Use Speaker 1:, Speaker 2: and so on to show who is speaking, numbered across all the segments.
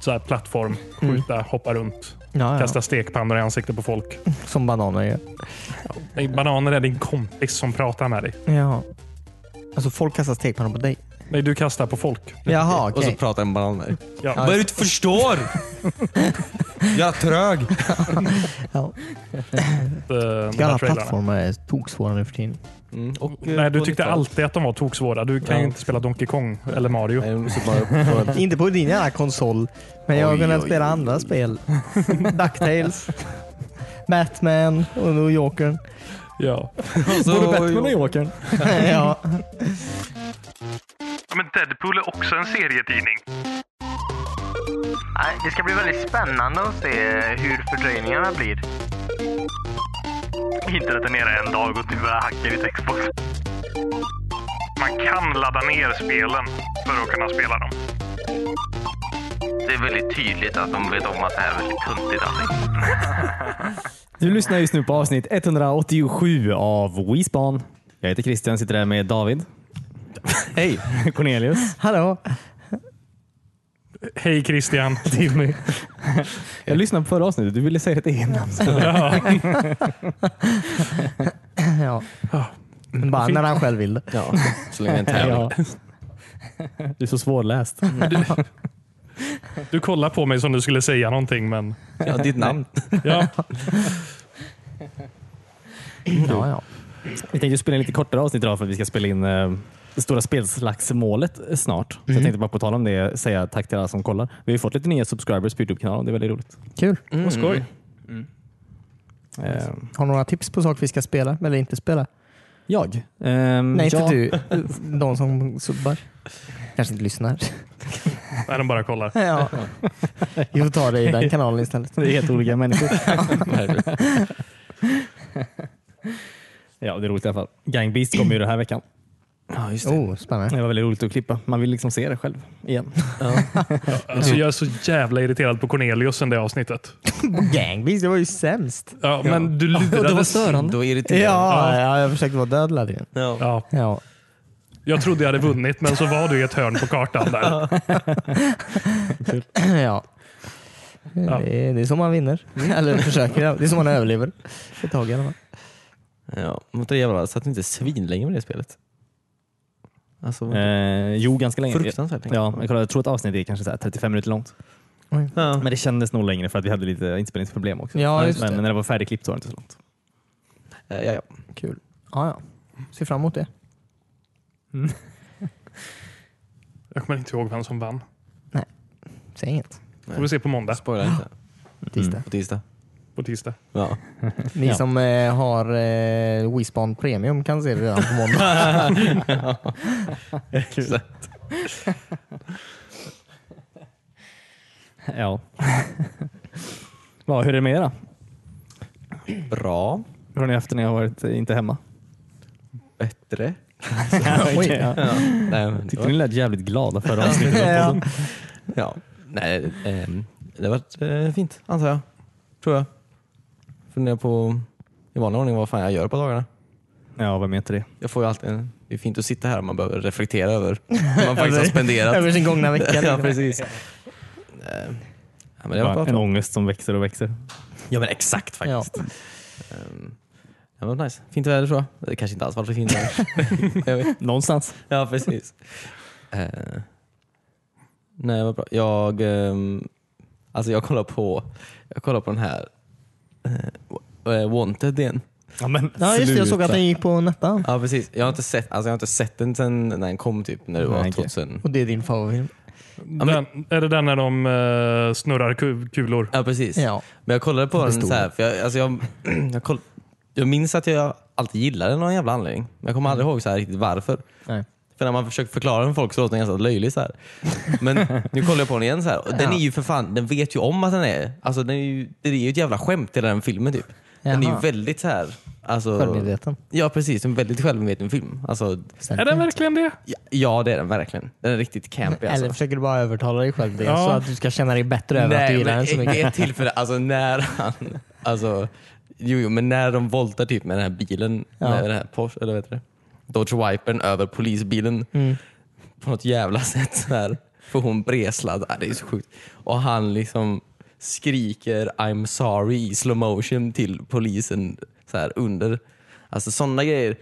Speaker 1: så här plattform, skjuta, hoppa runt,
Speaker 2: Mm. Ja, ja.
Speaker 1: kasta stekpannor i ansiktet på folk.
Speaker 2: Som bananer gör.
Speaker 1: Nej, Bananer är din kompis som pratar med dig.
Speaker 2: Ja. Alltså folk kastar stekpannor på dig.
Speaker 1: Nej, du kastar på folk.
Speaker 2: Jaha,
Speaker 3: Och
Speaker 2: okej.
Speaker 3: så pratar en bananer.
Speaker 1: Ja.
Speaker 3: Vad är det du inte förstår? Jag är trög.
Speaker 2: Ja.
Speaker 1: Eh, de här
Speaker 2: Alla
Speaker 1: trailarna.
Speaker 2: plattformar är toksvåra nu för tiden.
Speaker 3: Mm, och, eh,
Speaker 1: Nej, du
Speaker 3: på
Speaker 1: tyckte
Speaker 3: 90-talet.
Speaker 1: alltid att de var toksvåra. Du kan ju
Speaker 3: Ja.
Speaker 1: inte spela Donkey Kong eller Mario.
Speaker 3: Nej, jag måste bara- bara-
Speaker 2: Mm. Inte på din jävla konsol, men jag har
Speaker 3: Oj,
Speaker 2: kunnat
Speaker 3: oj,
Speaker 2: spela
Speaker 3: oj.
Speaker 2: andra spel. Ducktails, Batman och New Yorkern.
Speaker 1: Ja.
Speaker 3: Alltså,
Speaker 2: Yorkern? ja.
Speaker 1: Men Deadpool är också en serietidning.
Speaker 4: Nej, Det ska bli väldigt spännande att se hur fördröjningarna blir. Inte att den är en dag och du börjar hacka i ditt Xbox.
Speaker 1: Man kan ladda ner spelen för att kunna spela dem.
Speaker 4: Det är väldigt tydligt att de vet om att det här är väldigt tuntigt allting.
Speaker 5: Du lyssnar just nu på avsnitt 187 av WeSpan. Jag heter Christian, sitter här med David. Hej! Cornelius.
Speaker 2: Hallå?
Speaker 1: Hej Christian. Timmy.
Speaker 5: Jag lyssnade på förra avsnittet. Du ville säga ditt eget namn.
Speaker 1: ja.
Speaker 2: Ja. Bara när han själv vill det.
Speaker 3: Ja, så länge det är en tävling.
Speaker 5: Ja. Du är så svårläst.
Speaker 1: Du kollar på mig som du skulle säga någonting, men
Speaker 3: Ja, ditt namn.
Speaker 1: ja.
Speaker 2: Ja, ja.
Speaker 5: Vi tänkte spela in lite kortare avsnitt idag för att vi ska spela in eh, det stora spelslagsmålet eh, snart. Så jag tänkte bara på tal om det säga tack till alla som kollar. Vi har ju fått lite nya subscribers på Youtube-kanalen. Det är väldigt roligt.
Speaker 2: Kul.
Speaker 3: Mm.
Speaker 1: Vad skoj.
Speaker 5: Eh,
Speaker 2: Har du några tips på saker vi ska spela eller inte spela?
Speaker 5: jag? Ehm,
Speaker 2: Nej, inte
Speaker 5: ja.
Speaker 2: du. De som subbar. Kanske inte lyssnar.
Speaker 1: Nej, de bara kollar.
Speaker 2: Ja. Vi får ta det i den kanalen istället.
Speaker 5: Det är helt olika människor. ja, det är roligt i alla fall. Gang Beast kommer ju den här veckan.
Speaker 3: Ja, just
Speaker 2: Oh, spännande.
Speaker 5: Det var väldigt roligt att klippa. Man vill liksom se det själv igen.
Speaker 1: Alltså, jag är så jävla irriterad på Cornelius sen det avsnittet.
Speaker 2: Gangbeast, det var ju sämst.
Speaker 1: Ja, men du
Speaker 5: Det var
Speaker 1: lurades.
Speaker 5: störande.
Speaker 3: Mm, Då irriterande.
Speaker 2: Ja, ja, jag försökte vara dödlig hela tiden.
Speaker 3: Ja.
Speaker 1: Ja,
Speaker 2: Ja.
Speaker 1: jag trodde jag hade vunnit, men så var du i ett hörn på kartan där.
Speaker 2: ja. Det, är, det är så man vinner. Eller försöker. Det är så man överlever. Mm. Ett tag i alla fall.
Speaker 3: Ja, men det jävla, satt inte svin länge med det spelet. Alltså,
Speaker 5: Eh, jo, ganska länge.
Speaker 3: fruktansvärt länge.
Speaker 5: Ja, jag, kollar, jag tror att avsnittet är kanske så här 35 minuter långt.
Speaker 3: Ja.
Speaker 5: Men det kändes nog längre för att vi hade lite inspelningsproblem också.
Speaker 2: Ja, just
Speaker 5: men
Speaker 2: det.
Speaker 5: när det var färdigklippt så var det inte så långt.
Speaker 3: Eh, ja, ja.
Speaker 2: Kul. Ja, ja. Ser fram emot det.
Speaker 1: Jag kommer inte ihåg vem som vann.
Speaker 2: Säg inget.
Speaker 1: Får vi se på måndag,
Speaker 3: Spoila inte.
Speaker 2: Tisdag.
Speaker 3: På tisdag.
Speaker 1: på tisdag.
Speaker 3: Ja.
Speaker 2: Ni
Speaker 5: Ja.
Speaker 2: som eh, har eh, Wispan Premium kan se det redan på måndag.
Speaker 3: Exakt.
Speaker 5: Ja. ja, hur är det med er då?
Speaker 3: Bra.
Speaker 5: Hur har ni haft det när jag har varit eh, inte hemma?
Speaker 3: Bättre.
Speaker 2: Oj.
Speaker 5: Okej, ja.
Speaker 3: Ja. Nej, men det
Speaker 5: Tyckte ni
Speaker 3: var,
Speaker 5: lät jävligt glada förra avsnittet.
Speaker 2: ja.
Speaker 3: ja. Nej, ehm, det har varit eh, fint, antar jag. Tror jag. Funderar på i vanlig ordning vad fan jag gör på dagarna.
Speaker 5: Ja, vem heter det?
Speaker 3: Jag får ju alltid en, det är fint att sitta här om man behöver reflektera över hur man faktiskt har spenderat.
Speaker 2: Över liksom. sin gångna vecka.
Speaker 3: ja, precis. Eh, Ja, men det var
Speaker 5: Bara
Speaker 3: bra.
Speaker 5: en ångest som växer och växer.
Speaker 3: Ja men exakt
Speaker 2: Ja.
Speaker 3: faktiskt. Ehm, Ja. men nice. Fint väder tror jag. Det kanske inte alls var för fint väder. Jag vet.
Speaker 5: Någonstans.
Speaker 3: ja precis. Eh, nej vad bra. Jag, ehm, alltså jag kollar på, jag kollar på den här eh, eh, Wanted igen.
Speaker 5: Ja, men,
Speaker 2: Ja, just det. Jag såg att den gick på Nettan.
Speaker 3: Ja precis. Jag har inte sett, alltså jag har inte sett den sen när den kom typ när det var
Speaker 5: Nej, okej.
Speaker 3: 2000.
Speaker 2: Och det är din favoritfilm.
Speaker 1: Den, Är det den när de eh, snurrar ku- kulor?
Speaker 3: Ja precis.
Speaker 2: Ja.
Speaker 3: Men jag kollade på
Speaker 2: Det
Speaker 3: den
Speaker 2: stod
Speaker 3: så här, för jag, alltså jag, jag, koll, jag minns att jag alltid gillade den av någon jävla anledning. Men jag kommer aldrig ihåg så här riktigt varför.
Speaker 2: Nej.
Speaker 3: För när man försöker förklara den för folk så låter den ganska löjlig. Så här. Men nu kollar jag på den igen. Så här. Och Den
Speaker 2: Ja.
Speaker 3: är ju för fan, den vet ju om att den är... Alltså den är ju, det är ju ett jävla skämt i den filmen typ. Den är ju
Speaker 2: Jaha.
Speaker 3: väldigt så här... Alltså,
Speaker 2: Självmedveten.
Speaker 3: Ja precis, en väldigt självmedveten film. Alltså,
Speaker 1: Är den verkligen det?
Speaker 3: ja, ja det är den verkligen. Den är riktigt campy alltså.
Speaker 2: Eller försöker du bara övertala dig själv det
Speaker 1: Ja.
Speaker 2: så att du ska känna dig bättre över att du gillar
Speaker 3: men
Speaker 2: den så mycket?
Speaker 3: Ett ett tillfälle, alltså när han... Alltså, jo, jo, men när de voltar typ med den här bilen,
Speaker 2: Ja.
Speaker 3: med den här Porsche,
Speaker 2: Mm.
Speaker 3: eller vad heter det? Dodge Vipern över polisbilen på något jävla sätt. Så här. För hon breslad. Ah, Det är så sjukt. Och han liksom skriker I'm sorry i slow motion till polisen så här under. Alltså sådana grejer.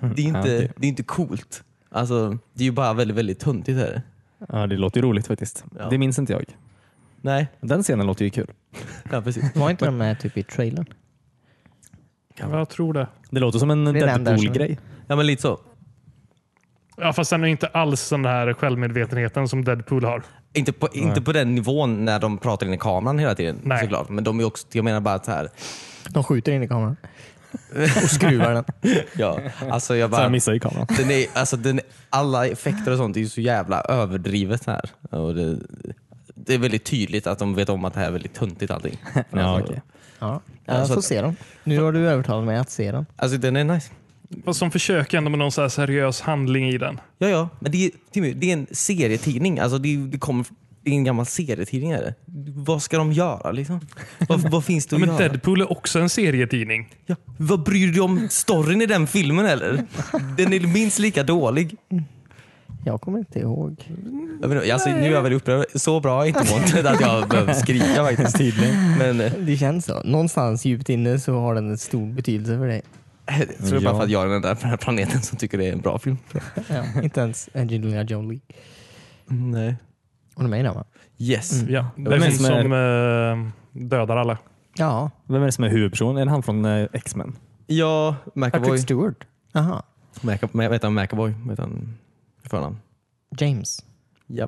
Speaker 3: Det är inte,
Speaker 5: Mm, Ja, okej.
Speaker 3: det är inte coolt. Alltså, det är ju bara väldigt, väldigt töntigt. Här.
Speaker 5: Ja, det låter ju roligt faktiskt.
Speaker 3: Ja.
Speaker 5: Det minns inte jag.
Speaker 3: Nej,
Speaker 5: Den scenen låter ju kul.
Speaker 3: ja, precis.
Speaker 2: Var inte de med typ i trailern?
Speaker 1: Jag tror det.
Speaker 5: Det låter som en
Speaker 2: Det är den där som-
Speaker 5: Deadpool-grej.
Speaker 3: Ja, men lite så.
Speaker 1: Ja, fast den är inte alls den här självmedvetenheten som Deadpool har.
Speaker 3: Inte på, inte på den nivån när de pratar in i kameran hela tiden
Speaker 1: Nej.
Speaker 3: såklart. Men de är också, jag menar bara att så här,
Speaker 2: De skjuter in i kameran. Och skruvar den.
Speaker 3: ja, alltså jag
Speaker 5: Så
Speaker 3: bara,
Speaker 5: jag missar ju kameran.
Speaker 3: den är, alltså den, alla effekter och sånt är ju så jävla överdrivet här. Och det, det är väldigt tydligt att de vet om att det här är väldigt töntigt allting.
Speaker 5: Ja,
Speaker 3: alltså,
Speaker 5: okej.
Speaker 2: Ja,
Speaker 3: Ja,
Speaker 2: jag
Speaker 3: så
Speaker 2: får
Speaker 3: att-
Speaker 2: se dem. Nu har du övertalat mig att se dem.
Speaker 3: alltså den är nice.
Speaker 1: Fast som försöker ändå med någon så här seriös handling i den.
Speaker 3: Ja, ja. Men det är, Timmy, det är en serietidning. Alltså det, är- det, kommer, det är en gammal serietidning. Är det. Vad ska de göra liksom? Vad, vad finns det
Speaker 1: Ja,
Speaker 3: att
Speaker 1: men
Speaker 3: göra?
Speaker 1: Deadpool är också en serietidning.
Speaker 3: Ja, vad bryr du dig om storyn i den filmen eller? Den är minst lika dålig.
Speaker 2: Jag kommer inte ihåg.
Speaker 3: Jag vet, inte, alltså, nu är jag väl upprörd. Så bra är inte måttet att jag behöver skrika faktiskt. Tydligen. Men eh,
Speaker 2: Det känns så. Någonstans djupt inne så har den en stor betydelse för dig.
Speaker 3: jag tror det är bara för att jag är den där på den här planeten som tycker det är en bra film.
Speaker 2: Ja, inte ens Angelina Jolie.
Speaker 3: Nej. Mm.
Speaker 2: Hon är med i den va?
Speaker 3: Yes.
Speaker 1: Ja, det
Speaker 5: men
Speaker 1: är hon
Speaker 5: som är-
Speaker 1: som eh, dödar alla.
Speaker 2: Ja,
Speaker 5: Vem är det som är huvudpersonen? Är det han från eh, X-Men?
Speaker 3: Ja,
Speaker 2: Patrick
Speaker 3: Macaboy.
Speaker 2: Stewart. Aha.
Speaker 3: Maca- Ma- Vad heter han? Macaboy? Vad heter han i förnamn?
Speaker 2: James.
Speaker 3: Ja.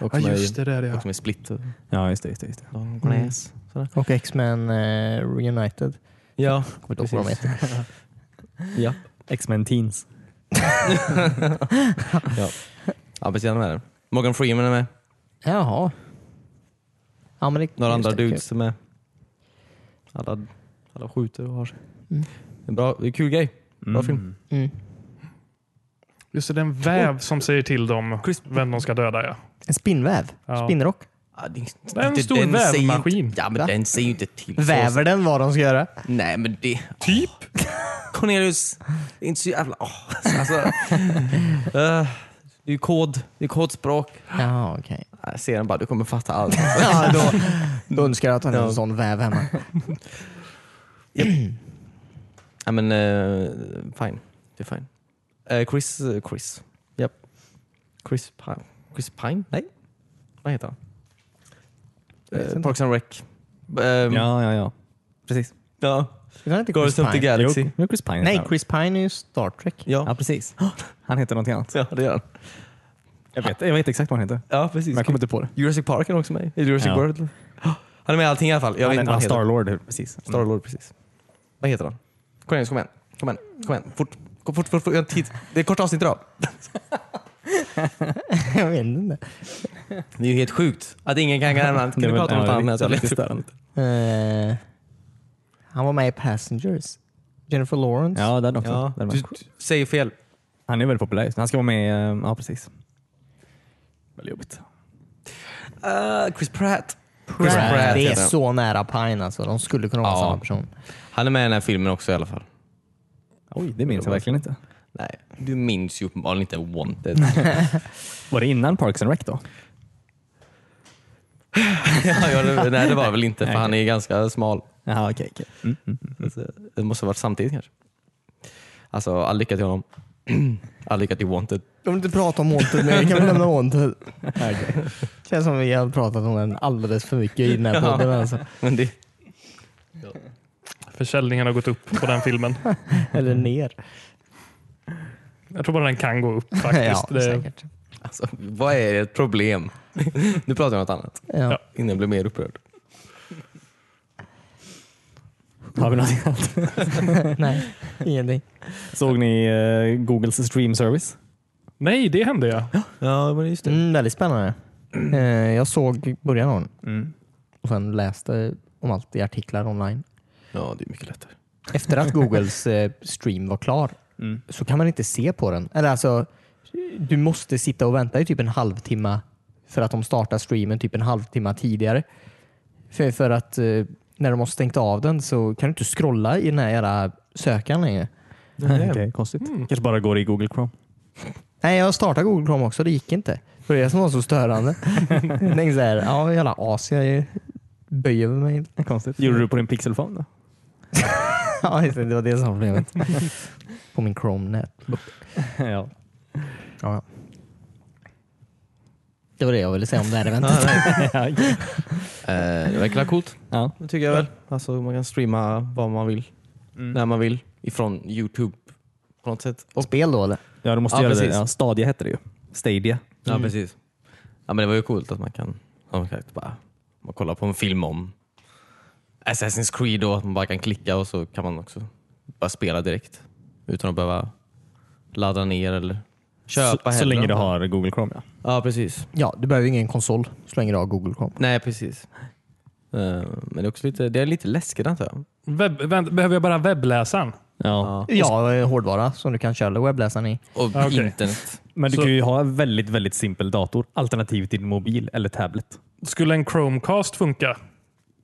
Speaker 3: Och
Speaker 1: Ja,
Speaker 3: som är-
Speaker 1: just det. det är det,
Speaker 3: Och
Speaker 1: ja.
Speaker 3: som är Mm. Split.
Speaker 5: Ja, just det. Just det, just det.
Speaker 3: Don Glass. Sådär.
Speaker 2: Och X-Men eh, Reunited.
Speaker 3: Ja,
Speaker 2: Kommer inte ihåg vad de heter.
Speaker 3: ja.
Speaker 5: X-Men Teens.
Speaker 3: ja precis. Han är med där. Morgan Freeman är med.
Speaker 2: Jaha. Ja, men det,
Speaker 3: Några
Speaker 2: just
Speaker 3: andra
Speaker 2: det,
Speaker 3: dudes som är... Alla, alla skjuter och har sig.
Speaker 2: Mm.
Speaker 3: En bra, det är en kul grej. Bra film.
Speaker 2: kul. Mm.
Speaker 1: Just det, det är en väv som säger till dem
Speaker 3: Chris-
Speaker 1: vem de ska döda. Ja.
Speaker 2: En spinnväv.
Speaker 1: Ja.
Speaker 2: Spinnrock.
Speaker 3: Ja, det,
Speaker 1: är en
Speaker 3: inte-
Speaker 1: stor
Speaker 3: den säger ju
Speaker 1: vävmaskin.
Speaker 3: Inte, ja, men
Speaker 2: Va?
Speaker 3: den säger ju inte till. så-
Speaker 2: Väver den vad de ska göra?
Speaker 3: Nej, men det... Typ? Cornelius, det är inte så jävla... Oh, alltså, eh, det är ju kod. Det är kodspråk.
Speaker 2: Ja, okej.
Speaker 3: Jag ser den bara, du kommer fatta allt.
Speaker 2: Ja, då, då önskar jag att han hade
Speaker 3: Ja.
Speaker 2: en sån väv hemma.
Speaker 3: Ja, men eh, fine. Det är fine. Eh, Chris, eh, Chris. Japp. Chris Pine. Chris Pine? Nej. Vad heter han?
Speaker 2: vet
Speaker 3: Eh,
Speaker 2: inte.
Speaker 3: Parks and Rec. Ehm, ja.
Speaker 5: Ja, ja, ja. Precis.
Speaker 3: ja.
Speaker 2: Det var inte Chris
Speaker 3: Guardians of the
Speaker 2: Pine.
Speaker 3: Galaxy.
Speaker 5: Jo, Chris Pine.
Speaker 2: Nej, Chris Pine är ju Star Trek.
Speaker 3: Ja.
Speaker 5: Ja, precis. Han heter någonting annat.
Speaker 3: ja, det gör han.
Speaker 5: Jag vet, jag vet exakt vad han heter.
Speaker 3: Ja, precis.
Speaker 5: Men jag kommer inte på det.
Speaker 3: Jurassic Park är också med i Jurassic
Speaker 5: Ja.
Speaker 3: World. Oh, Han är med i allting i alla fall. Jag
Speaker 5: han
Speaker 3: vet inte
Speaker 5: är
Speaker 3: vad han heter.
Speaker 5: Starlord. Precis.
Speaker 3: Star Lord, precis. Vad heter han? Cornelius, kom igen. Kom igen. Kom igen. Fort. Kom fort, fort, fort. Jag har tid. Det är ett kort avsnitt idag.
Speaker 2: Jag vet inte.
Speaker 3: Det är ju helt sjukt att ingen kan nämna honom. Kan
Speaker 5: Det är
Speaker 3: du
Speaker 5: väl-
Speaker 3: prata om något
Speaker 5: ja,
Speaker 3: annat?
Speaker 5: riktigt-
Speaker 3: Jag letar
Speaker 5: riktigt
Speaker 3: upp
Speaker 5: störande.
Speaker 3: det.
Speaker 2: Eh, han var med i Passengers. Jennifer Lawrence.
Speaker 5: Ja, den också.
Speaker 3: Ja,
Speaker 5: Den var-
Speaker 3: du du säger fel.
Speaker 5: Han är väldigt populär just nu. Han ska vara med eh, Ja, precis. Väldigt jobbigt.
Speaker 3: Eh, Chris Pratt.
Speaker 2: Chris Pratt.
Speaker 3: Pratt
Speaker 2: Det är
Speaker 3: heter han.
Speaker 2: så nära Pine alltså. De skulle kunna vara
Speaker 3: Ja.
Speaker 2: samma person.
Speaker 3: Han är med i den här filmen också i alla fall.
Speaker 5: Oj, det minns jag verkligen inte.
Speaker 3: Nej, du minns ju uppenbarligen inte Wanted.
Speaker 5: Var det innan Parks and Rec då?
Speaker 3: ja, ja, det- nej, det var väl inte för han är ganska smal.
Speaker 5: Jaha, okej. okej. Mm.
Speaker 3: Alltså, Det måste ha varit samtidigt kanske. Alltså, all lycka till honom. all lycka till Wanted.
Speaker 2: Jag vill inte prata om Wanted nu. Kan vi lämna Wanted? Känns som vi har pratat om den alldeles för mycket i den här podden. Alltså.
Speaker 3: Men det,
Speaker 1: Försäljningen har gått upp på den filmen.
Speaker 2: Eller ner.
Speaker 1: Jag tror bara den kan gå upp faktiskt.
Speaker 2: ja,
Speaker 1: det,
Speaker 2: säkert.
Speaker 3: alltså, vad är ert problem? nu pratar jag om något annat
Speaker 2: Ja.
Speaker 1: Ja.
Speaker 3: innan jag blir mer upprörd.
Speaker 5: Har vi någonting annat?
Speaker 2: Nej, ingenting.
Speaker 5: Såg ni eh, Googles stream service?
Speaker 1: nej, det hände ja.
Speaker 3: Ja, men just
Speaker 2: Mm, väldigt spännande. Eh, jag såg början av den
Speaker 5: Mm.
Speaker 2: och sen läste om allt i artiklar online.
Speaker 3: Ja, det är mycket lättare.
Speaker 2: Efter att Googles eh, stream var klar
Speaker 5: Mm.
Speaker 2: så kan man inte se på den. Eller alltså, du måste sitta och vänta i typ en halvtimme för att de startar streamen typ en halvtimme tidigare. För, för att eh, när de har stängt av den så kan du inte scrolla i den här jävla sökaren längre.
Speaker 1: Mm.
Speaker 5: Okej, konstigt. Kanske bara går i Google Chrome.
Speaker 2: Nej, jag startade Google Chrome också. Det gick inte. Det var det som var så störande. jag tänkte så här, ja jävla as, jag böjer mig.
Speaker 5: Konstigt. Gjorde du på din pixelfon då?
Speaker 2: Ja, just det, det var det som var problemet. På min Chrome-nät.
Speaker 5: ja.
Speaker 2: Ja, ja. Det var det jag ville säga om det här eventet.
Speaker 3: Eh, det verkar coolt.
Speaker 5: ja.
Speaker 3: Det tycker jag väl. Alltså, man kan streama vad man vill, när man vill, ifrån Youtube på något sätt.
Speaker 2: Och spel då eller?
Speaker 5: Ja, du måste
Speaker 3: Ja,
Speaker 5: göra det.
Speaker 3: precis.
Speaker 5: Ja, Stadia hette det ju. Stadia.
Speaker 3: Ja, precis. Ja, men det var ju coolt att man kan som sagt, bara, man kollar på en film om Assassin's Creed och att man bara kan klicka och så kan man också bara spela direkt utan att behöva ladda ner eller köpa
Speaker 5: så, så
Speaker 3: heller.
Speaker 5: länge du har Google Chrome. Ja.
Speaker 3: Ja, precis.
Speaker 2: Ja, du behöver ju ingen konsol så länge du har Google Chrome.
Speaker 3: Nej, precis. Eh, Men det är också lite, det är lite läskigt antar jag.
Speaker 1: Webb, vänt, behöver jag bara webbläsaren?
Speaker 5: Ja.
Speaker 2: Ja, eh, hårdvara som du kan köra webbläsaren i.
Speaker 3: Och
Speaker 5: Ah,
Speaker 1: okej.
Speaker 3: internet.
Speaker 5: Men du
Speaker 1: Så-
Speaker 5: kan ju ha en väldigt, väldigt simpel dator alternativt din mobil eller tablet.
Speaker 1: Skulle en Chromecast funka?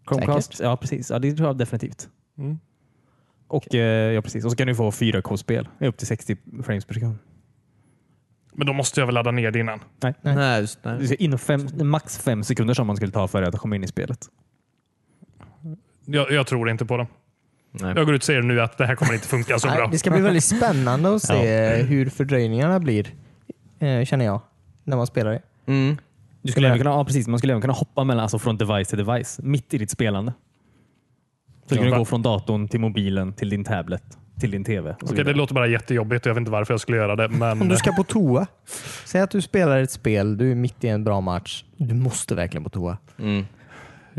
Speaker 5: Chromecast? Ja, precis. Ja, det tror jag definitivt.
Speaker 1: Mm.
Speaker 5: Och, eh, ja, precis. och så kan du få 4K-spel upp till 60 frames per sekund.
Speaker 1: Men då måste jag väl ladda ner det innan?
Speaker 5: Nej.
Speaker 2: Nej.
Speaker 3: Nej, just,
Speaker 5: Det
Speaker 3: nej.
Speaker 5: är inom fem, max fem sekunder som man skulle ta för att komma in i spelet.
Speaker 1: Jag, jag tror inte på dem.
Speaker 3: Nej.
Speaker 1: Jag går ut och säger nu att det här kommer inte funka så
Speaker 2: Nej,
Speaker 1: bra.
Speaker 2: det ska bli väldigt spännande att se eh, hur fördröjningarna blir, eh, känner jag, när man spelar det.
Speaker 3: Mm.
Speaker 5: Du skulle även
Speaker 2: det-
Speaker 5: kunna, ja, precis, man skulle även kunna hoppa mellan, alltså från device till device mitt i ditt spelande. Så du
Speaker 1: Ja,
Speaker 5: kan du
Speaker 1: va-
Speaker 5: gå från datorn till mobilen till din tablet till din tv. och så
Speaker 1: Okej, det
Speaker 5: vidare.
Speaker 1: låter bara jättejobbigt och jag vet inte varför jag skulle göra det.
Speaker 2: Om
Speaker 1: Men
Speaker 2: du ska på toa. Säg att du spelar ett spel, du är mitt i en bra match. Du måste verkligen på toa.
Speaker 3: Mm.
Speaker 1: jag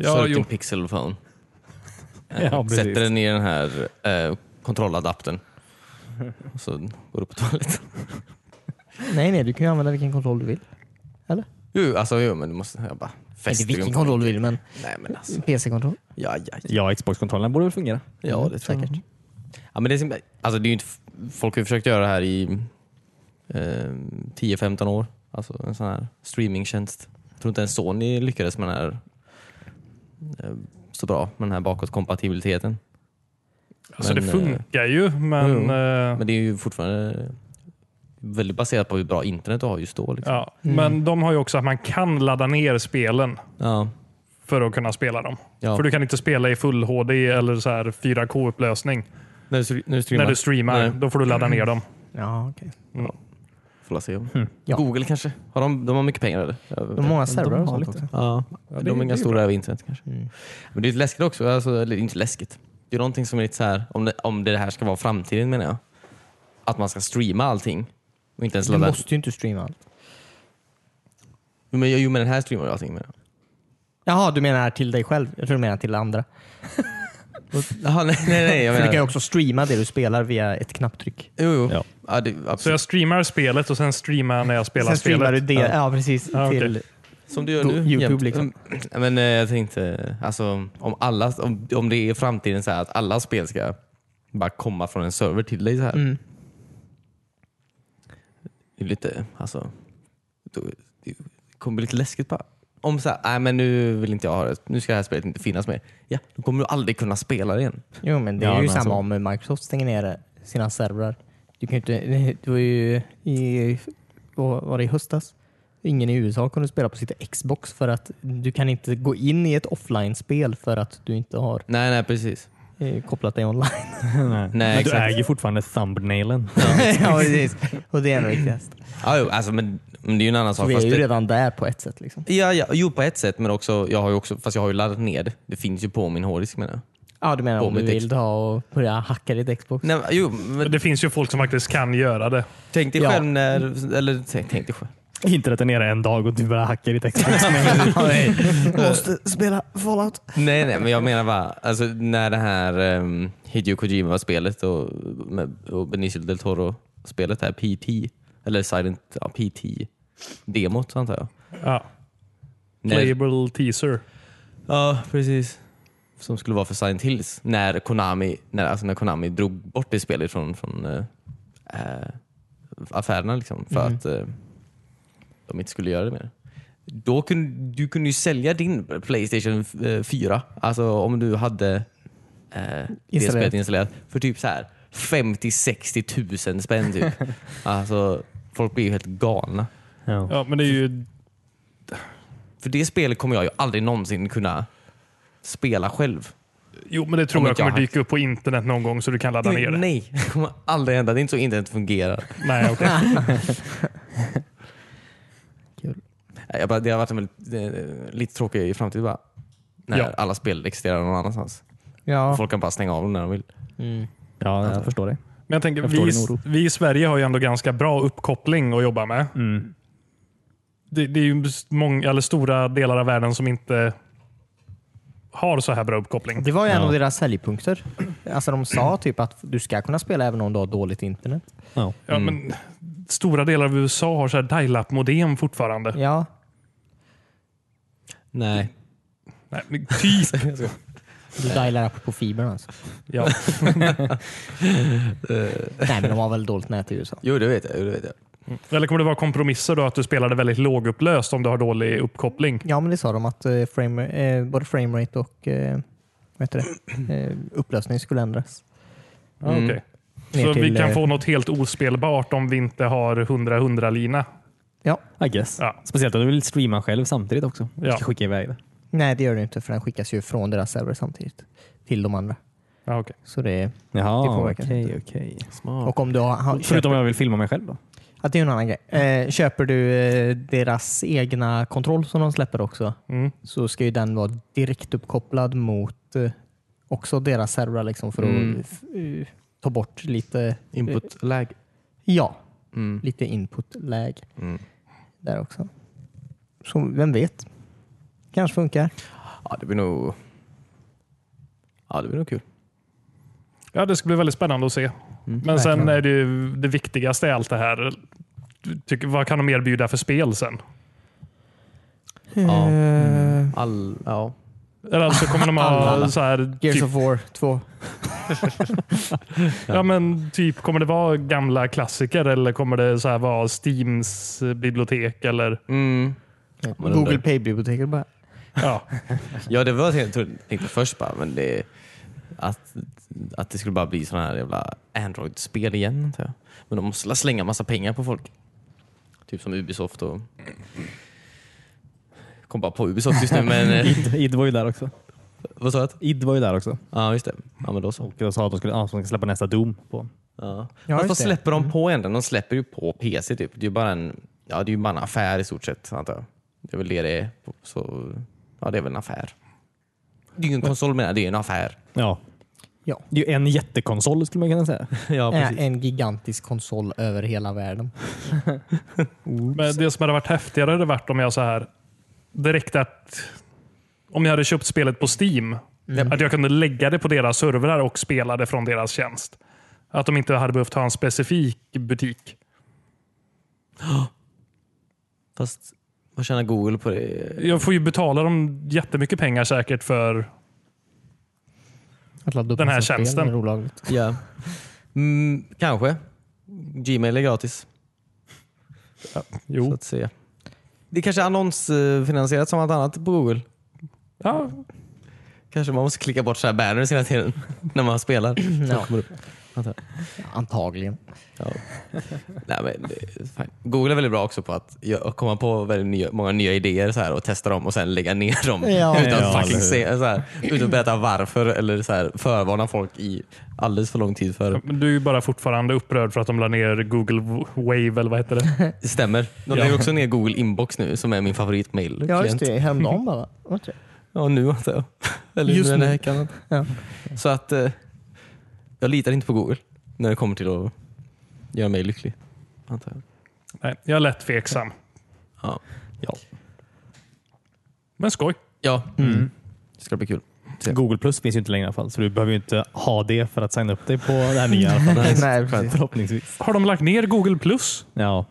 Speaker 3: Ja,
Speaker 1: har
Speaker 3: Sök din
Speaker 1: gjort
Speaker 3: pixelphone.
Speaker 5: Ja, precis.
Speaker 3: Eh, Sätter den i den här eh, kontrolladaptern. Och så går du på toaletten.
Speaker 2: Nej, nej, du kan ju använda vilken kontroll du vill.
Speaker 3: Jo, alltså, jo, men du måste... Jag bara
Speaker 2: Inte
Speaker 3: fäster
Speaker 2: vilken
Speaker 3: ju-
Speaker 2: kontroll du vill, men
Speaker 3: Nej, men alltså.
Speaker 2: PC-kontroll.
Speaker 3: Ja, ja, ja.
Speaker 5: Ja, Xbox-kontrollen borde väl fungera.
Speaker 3: ja det tror jag.
Speaker 2: Säkert.
Speaker 3: Ja, men det är, sim- alltså, det är ju inte, f- folk har ju försökt göra det här i eh, 10-15 år. Alltså en sån här streamingtjänst. Jag tror inte ens Sony lyckades med den här eh, så bra med den här bakåtkompatibiliteten.
Speaker 1: Alltså
Speaker 3: Men, eh,
Speaker 1: det funkar ju, men...
Speaker 3: jo,
Speaker 1: eh,
Speaker 3: Men det är ju fortfarande väldigt baserat på hur bra internet du har just då. Liksom.
Speaker 1: ja.
Speaker 2: Mm.
Speaker 1: men de har ju också att man kan ladda ner spelen
Speaker 3: Ja.
Speaker 1: för att kunna spela dem.
Speaker 3: Ja.
Speaker 1: För du kan inte spela i full HD eller så här 4K-upplösning
Speaker 3: När, du, när du streamar?
Speaker 1: när du streamar.
Speaker 3: Nej.
Speaker 1: Då får du ladda ner dem.
Speaker 2: Ja, okej.
Speaker 3: Får la se om.
Speaker 2: Ja.
Speaker 3: Google kanske? Har de, de har mycket pengar eller? Jag vet
Speaker 2: De har många
Speaker 3: inte.
Speaker 2: servrar och
Speaker 5: har
Speaker 2: sånt
Speaker 5: lite.
Speaker 2: också.
Speaker 3: Ja,
Speaker 1: det-
Speaker 3: de
Speaker 1: det
Speaker 3: är
Speaker 1: är
Speaker 3: ganska
Speaker 1: ju
Speaker 3: stora över internet kanske.
Speaker 2: Mm.
Speaker 3: Men det är lite läskigt också. Alltså, eller inte läskigt. Det är någonting som är lite så här, om det, om det här ska vara framtiden menar jag. Att man ska streama allting. Och inte ens
Speaker 2: Du
Speaker 3: ladda.
Speaker 2: måste ju inte streama allt.
Speaker 3: Jo, men, jo men den här streamar ju allting menar jag.
Speaker 2: Jaha, du menar till dig själv? Jag tror du menar till andra.
Speaker 3: Jaha, nej, nej, nej. Jag
Speaker 2: För du
Speaker 3: menar,
Speaker 2: kan ju också streama det du spelar via ett knapptryck.
Speaker 3: Jo, jo.
Speaker 5: Ja.
Speaker 3: Ja. det,
Speaker 1: Så
Speaker 3: absolut.
Speaker 1: jag streamar spelet och sen streamar jag när jag spelar
Speaker 2: Sen streamar du
Speaker 1: spelet.
Speaker 2: det, ja, precis,
Speaker 1: Ja, okej.
Speaker 2: till
Speaker 3: Som du gör
Speaker 2: Go-
Speaker 3: nu.
Speaker 2: YouTube,
Speaker 3: jämt.
Speaker 2: liksom.
Speaker 3: Mm, Men eh, jag tänkte, alltså, om, alla, om, om det är framtiden så här att alla spel ska bara komma från en server till dig så här.
Speaker 2: Mm.
Speaker 3: Det är lite, alltså, då, det kommer bli lite läskigt bara. Om så här, nej men nu vill inte jag ha det, nu ska det här spelet inte finnas mer. Ja, då kommer du aldrig kunna spela det igen.
Speaker 2: Jo, men det
Speaker 5: Ja,
Speaker 2: är ju
Speaker 5: men
Speaker 2: samma
Speaker 5: alltså-
Speaker 2: om Microsoft stänger ner sina servrar. Du kan ju inte, det var ju i, vad var det i höstas? Ingen i USA kunde spela på sitt Xbox för att du kan inte gå in i ett offline-spel för att du inte har
Speaker 3: Nej, nej precis.
Speaker 2: eh, kopplat dig online.
Speaker 5: Nej. Men du
Speaker 3: exakt.
Speaker 5: äger fortfarande thumbnailen.
Speaker 2: ja, precis. Och det är nog viktigast.
Speaker 3: Ja, jo, alltså, men, men det är ju en annan
Speaker 2: Så
Speaker 3: sak.
Speaker 2: vi är
Speaker 3: fast
Speaker 2: ju
Speaker 3: det-
Speaker 2: redan där på ett sätt. Liksom.
Speaker 3: Ja, ja, jo på ett sätt, men också, jag har ju också, fast jag har ju laddat ner det. Det finns ju på min hårddisk menar jag.
Speaker 2: Ja, du menar
Speaker 3: På
Speaker 2: om du
Speaker 3: mitt
Speaker 2: vill
Speaker 3: Xbox.
Speaker 2: ha och börja hacka ditt Xbox?
Speaker 3: Nej, men- jo, men
Speaker 1: Det finns ju folk som faktiskt kan göra det.
Speaker 3: tänk dig
Speaker 2: Ja.
Speaker 3: själv när, eller tänk, tänk dig själv.
Speaker 5: Internet är nere en dag och du börjar hacka ditt Xbox.
Speaker 2: Måste spela Fallout.
Speaker 3: Nej, nej, men jag menar bara, alltså, när det här um, Hideo Kojima-spelet och, med- och Benicio del Toro-spelet, här PT, eller Silent ja, PT-demot antar jag.
Speaker 1: Ja.
Speaker 3: När,
Speaker 1: Playable teaser.
Speaker 3: ja, precis. Som skulle vara för Silent Hills. När Konami, när, alltså, när Konami drog bort det spelet från, från eh, eh, affärerna liksom, för
Speaker 2: Mm.
Speaker 3: att eh, de inte skulle göra det mer. Då kunde, du kunde ju sälja din Playstation eh, 4, alltså om du hade eh, det
Speaker 2: Installerat.
Speaker 3: spelet installerat för typ så här 50-60 tusen spänn. Typ. alltså, folk blir ju helt galna.
Speaker 6: Ja.
Speaker 1: Ja, men det är ju...
Speaker 3: För det spelet kommer jag ju aldrig någonsin kunna spela själv.
Speaker 1: Jo, men det
Speaker 3: Om
Speaker 1: tror jag
Speaker 3: inte jag
Speaker 1: kommer dyka upp på internet någon gång så du kan ladda ner det. Nej,
Speaker 3: Nej, det kommer aldrig hända. Det är inte så internet fungerar.
Speaker 1: okej.
Speaker 3: Nej, Jag bara, det har varit en väldigt, eh, lite tråkig i framtiden bara. När
Speaker 1: Ja.
Speaker 3: alla spel existerar någon annanstans.
Speaker 2: Ja.
Speaker 3: Folk kan bara stänga av dem när de vill.
Speaker 5: Ja, jag förstår dig.
Speaker 1: Men jag tänker,
Speaker 5: Jag förstår
Speaker 1: vi,
Speaker 5: din oro.
Speaker 1: vi i Sverige har ju ändå ganska bra uppkoppling att jobba med.
Speaker 5: Mm.
Speaker 1: Det, det är ju många, eller stora delar av världen som inte har så här bra uppkoppling.
Speaker 2: Det var ju en av deras säljpunkter. Alltså de sa typ att du ska kunna spela även om du har dåligt internet.
Speaker 1: Ja,
Speaker 5: Mm.
Speaker 1: men stora delar av USA har så här dial-up-modem fortfarande.
Speaker 2: Ja,
Speaker 3: Nej.
Speaker 1: Nej, men typ.
Speaker 2: du dialar upp på fibern alltså.
Speaker 1: ja.
Speaker 2: Nej, men de har väl dåligt nät i USA.
Speaker 3: Jo, det vet jag. Jo, det vet jag.
Speaker 1: Eller kommer det vara kompromisser då att du spelade väldigt lågupplöst om du har dålig uppkoppling?
Speaker 2: Ja, men det sa de att eh, frame, eh, både framerate och eh, vad heter det? Eh, upplösning skulle ändras.
Speaker 1: Ja,
Speaker 3: Mm.
Speaker 1: okej.
Speaker 2: Ner
Speaker 1: Så vi
Speaker 2: till,
Speaker 1: kan
Speaker 2: eh,
Speaker 1: få något helt ospelbart om vi inte har 100-100-lina.
Speaker 5: I guess.
Speaker 1: Ja.
Speaker 5: Speciellt om du vill streama själv samtidigt också. Du
Speaker 1: Ja.
Speaker 5: ska skicka iväg det.
Speaker 2: Nej, det gör det inte för den skickas ju från deras server samtidigt till de andra.
Speaker 1: Ja, okej.
Speaker 2: Så det är, Det
Speaker 5: Jaha,
Speaker 2: påverkar
Speaker 5: okej. okej.
Speaker 3: Smart.
Speaker 2: och om du har, har,
Speaker 5: Förutom om jag vill filma mig själv då?
Speaker 2: Ja, det är en annan grej. Eh, köper du eh, deras egna kontroll som de släpper också
Speaker 1: Mm.
Speaker 2: så ska ju den vara direkt uppkopplad mot eh, också deras servrar liksom för
Speaker 3: Mm.
Speaker 2: att f- eh, ta bort lite,
Speaker 3: Input lag.
Speaker 2: ja,
Speaker 3: Mm.
Speaker 2: lite input-läge
Speaker 3: Mm.
Speaker 2: där också. Så vem vet? Kanske funkar.
Speaker 3: Ja, det blir nog... Ja, det blir nog kul.
Speaker 1: Ja, det ska bli väldigt spännande att
Speaker 2: Mm.
Speaker 1: se. Men sen är det ju det viktigaste i allt det här. Du Tycker, vad kan de erbjuda för spel sen?
Speaker 3: Ja. Mm.
Speaker 2: Eh,
Speaker 3: All... Ja.
Speaker 1: Eller alltså kommer de ha
Speaker 2: Alla.
Speaker 1: så här,
Speaker 2: Gears
Speaker 1: typ,
Speaker 2: of War 2.
Speaker 1: ja, men typ, kommer det vara gamla klassiker eller kommer det så här vara Steams bibliotek? Eller,
Speaker 3: Mm. Ja, men den
Speaker 2: Google
Speaker 3: där-
Speaker 2: Pay-biblioteket bara.
Speaker 1: ja.
Speaker 3: Ja, det var jag trodde- tänkte först bara, men det... Att, att det skulle bara bli sådana här jävla Android-spel igen, antar jag. Men de måste slänga massa pengar på folk. Typ som Ubisoft och... Kom bara på Ubisoft just nu, men... eh,
Speaker 5: Id, Id var ju där också.
Speaker 3: Vad sa jag?
Speaker 5: Id var ju där också.
Speaker 3: Ja, just det. Ja, men då så.
Speaker 5: Och jag sa att de skulle, ja, de ska släppa nästa Doom på.
Speaker 3: Ja.
Speaker 2: Ja, just
Speaker 3: Fast vad
Speaker 2: det. Mm.
Speaker 3: släpper de på ändå? De släpper ju på PC typ. Det är ju bara en, ja, det är ju bara en affär i stort sett antar jag. Det är väl det det är. Så, ja, det är väl en affär. Det är ju ingen konsol menar jag, det är ju en affär.
Speaker 5: Ja.
Speaker 2: Ja.
Speaker 5: Det är ju en jättekonsol skulle man kunna säga.
Speaker 3: ja,
Speaker 2: Eh, en gigantisk konsol över hela världen.
Speaker 1: Men det som hade varit häftigare hade varit om jag så här direkt att om jag hade köpt spelet på Steam. Att jag kunde lägga det på deras servrar och spela det från deras tjänst. Att de inte hade behövt ha en specifik butik.
Speaker 3: Fast vad tjänar Google på det?
Speaker 1: Jag får ju betala dem jättemycket pengar säkert för...
Speaker 2: Att ladda upp
Speaker 1: Den här
Speaker 2: massa spel
Speaker 1: tjänsten.
Speaker 2: är olagligt.
Speaker 3: Ja. Mm, kanske. Gmail är gratis. Så
Speaker 1: Jo.
Speaker 3: att säga. Det är kanske är annonsfinansierat som allt annat på Google.
Speaker 1: Ja,
Speaker 3: Kanske man måste klicka bort så här banners hela tiden när man spelar.
Speaker 2: Ja.
Speaker 3: kommer upp.
Speaker 2: Antagligen.
Speaker 3: Ja. Nej, men det är fine. Google är väldigt bra också på att gö- komma på väldigt nya, många nya idéer så här, och testa dem och sen lägga ner dem
Speaker 2: Ja.
Speaker 3: utan,
Speaker 5: Ja,
Speaker 3: att fucking
Speaker 5: eller
Speaker 3: se, så här, utan att berätta varför eller så här, förvarna folk i alldeles för lång tid för.
Speaker 1: men du är ju bara fortfarande upprörd för att de la ner Google Wave eller vad heter det?
Speaker 3: Det stämmer. De lägger också ner Google Inbox nu som är min favoritmail.
Speaker 2: Ja, just det. Häromdagen bara. Var det
Speaker 3: Ja, nu antar jag. Eller
Speaker 2: Just
Speaker 3: den här
Speaker 2: nu.
Speaker 3: veckan.
Speaker 2: Ja.
Speaker 3: Så att eh, jag litar inte på Google när det kommer till att göra mig lycklig. Antar jag.
Speaker 1: Nej, jag är lätt tveksam.
Speaker 3: Ja. Ja.
Speaker 1: Men skoj.
Speaker 3: ja. Mm. Det ska bli kul.
Speaker 2: eh.
Speaker 5: Google Plus finns ju inte längre i alla fall, så du behöver ju inte ha det för att signa upp dig på det här nya. i alla fall.
Speaker 2: det? Nej, precis.
Speaker 5: Förhoppningsvis.
Speaker 1: Har de lagt ner Google Plus?
Speaker 5: Ja.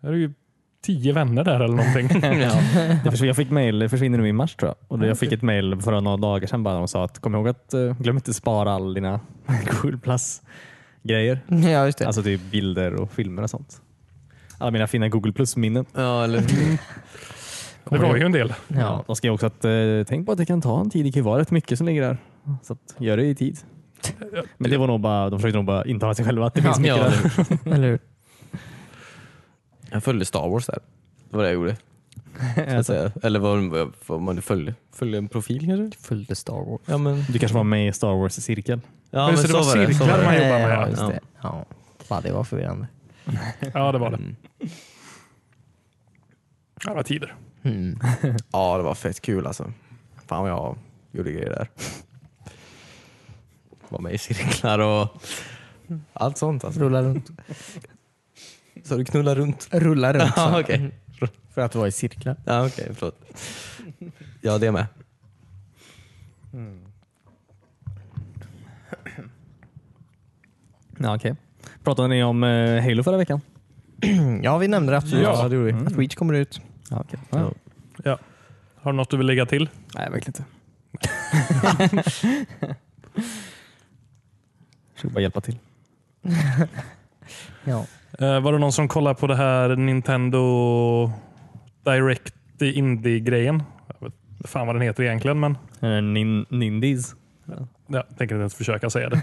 Speaker 1: Det är ju tio vänner där eller någonting.
Speaker 5: Det försvinner- Jag fick mail, det försvinner nu i mars tror jag. Och det- jag fick ett mail för några dagar sedan bara de sa att kom ihåg att eh, glöm inte spara all dina Google Plus-grejer.
Speaker 2: Ja, just det.
Speaker 5: Alltså typ bilder och filmer och sånt. Alla mina fina Google Plus-minnen.
Speaker 3: Ja, eller
Speaker 1: Det var ju en del.
Speaker 5: Ja.
Speaker 2: ja.
Speaker 5: De skrev också att eh, tänk på att det kan ta en tid. Det kan ju vara rätt mycket som ligger där. Så att, gör det i tid. Men det var nog bara, de försökte nog bara intala sig själva att det finns mycket
Speaker 3: Ja,
Speaker 5: där.
Speaker 2: Eller hur?
Speaker 3: Jag följde Star Wars där. Det var det jag gjorde. Så att säga. Eller vad, vad, vad man följde. Följde en profil kanske?
Speaker 2: Följde Star Wars.
Speaker 3: Ja men,
Speaker 5: Du kanske var med i Star Wars-cirkeln?
Speaker 3: ja,
Speaker 1: Just
Speaker 3: men
Speaker 1: det, det var
Speaker 3: så
Speaker 1: cirklar
Speaker 3: var
Speaker 1: man
Speaker 3: det.
Speaker 1: jobbar med.
Speaker 2: Ja, just
Speaker 3: ja.
Speaker 2: det. Ja. Fan, det var förvirrande.
Speaker 1: Ja, det var det.
Speaker 3: Mm.
Speaker 1: Det var tider.
Speaker 2: Mm.
Speaker 3: Ja, det var fett kul alltså. Fan vad jag gjorde grejer där. Var med i cirklar och allt sånt. Alltså.
Speaker 2: Rulla runt.
Speaker 3: Så du knullar runt?
Speaker 2: Rulla runt. sa jag.
Speaker 3: Ja, okej.
Speaker 2: För att vara i cirklar.
Speaker 3: Ja, okej. förlåt. Ja, det med.
Speaker 5: Ja, okej. Pratade ni om eh, Halo förra veckan?
Speaker 2: Mm, Ja, Mm. vi nämnde det absolut.
Speaker 1: Ja.
Speaker 2: det gjorde vi. Att Reach kommer ut.
Speaker 5: Ja, okej.
Speaker 3: Ja.
Speaker 1: Har du något du vill lägga till?
Speaker 5: Nej, verkligen inte. Försöker bara hjälpa till.
Speaker 2: Ja.
Speaker 1: Eh, var det någon som kollade på det här Nintendo Direct Indie-grejen? Jag vet inte fan vad den heter egentligen, men
Speaker 5: Eh, Nin, nindies.
Speaker 1: ja, jag tänker inte ens försöka säga det.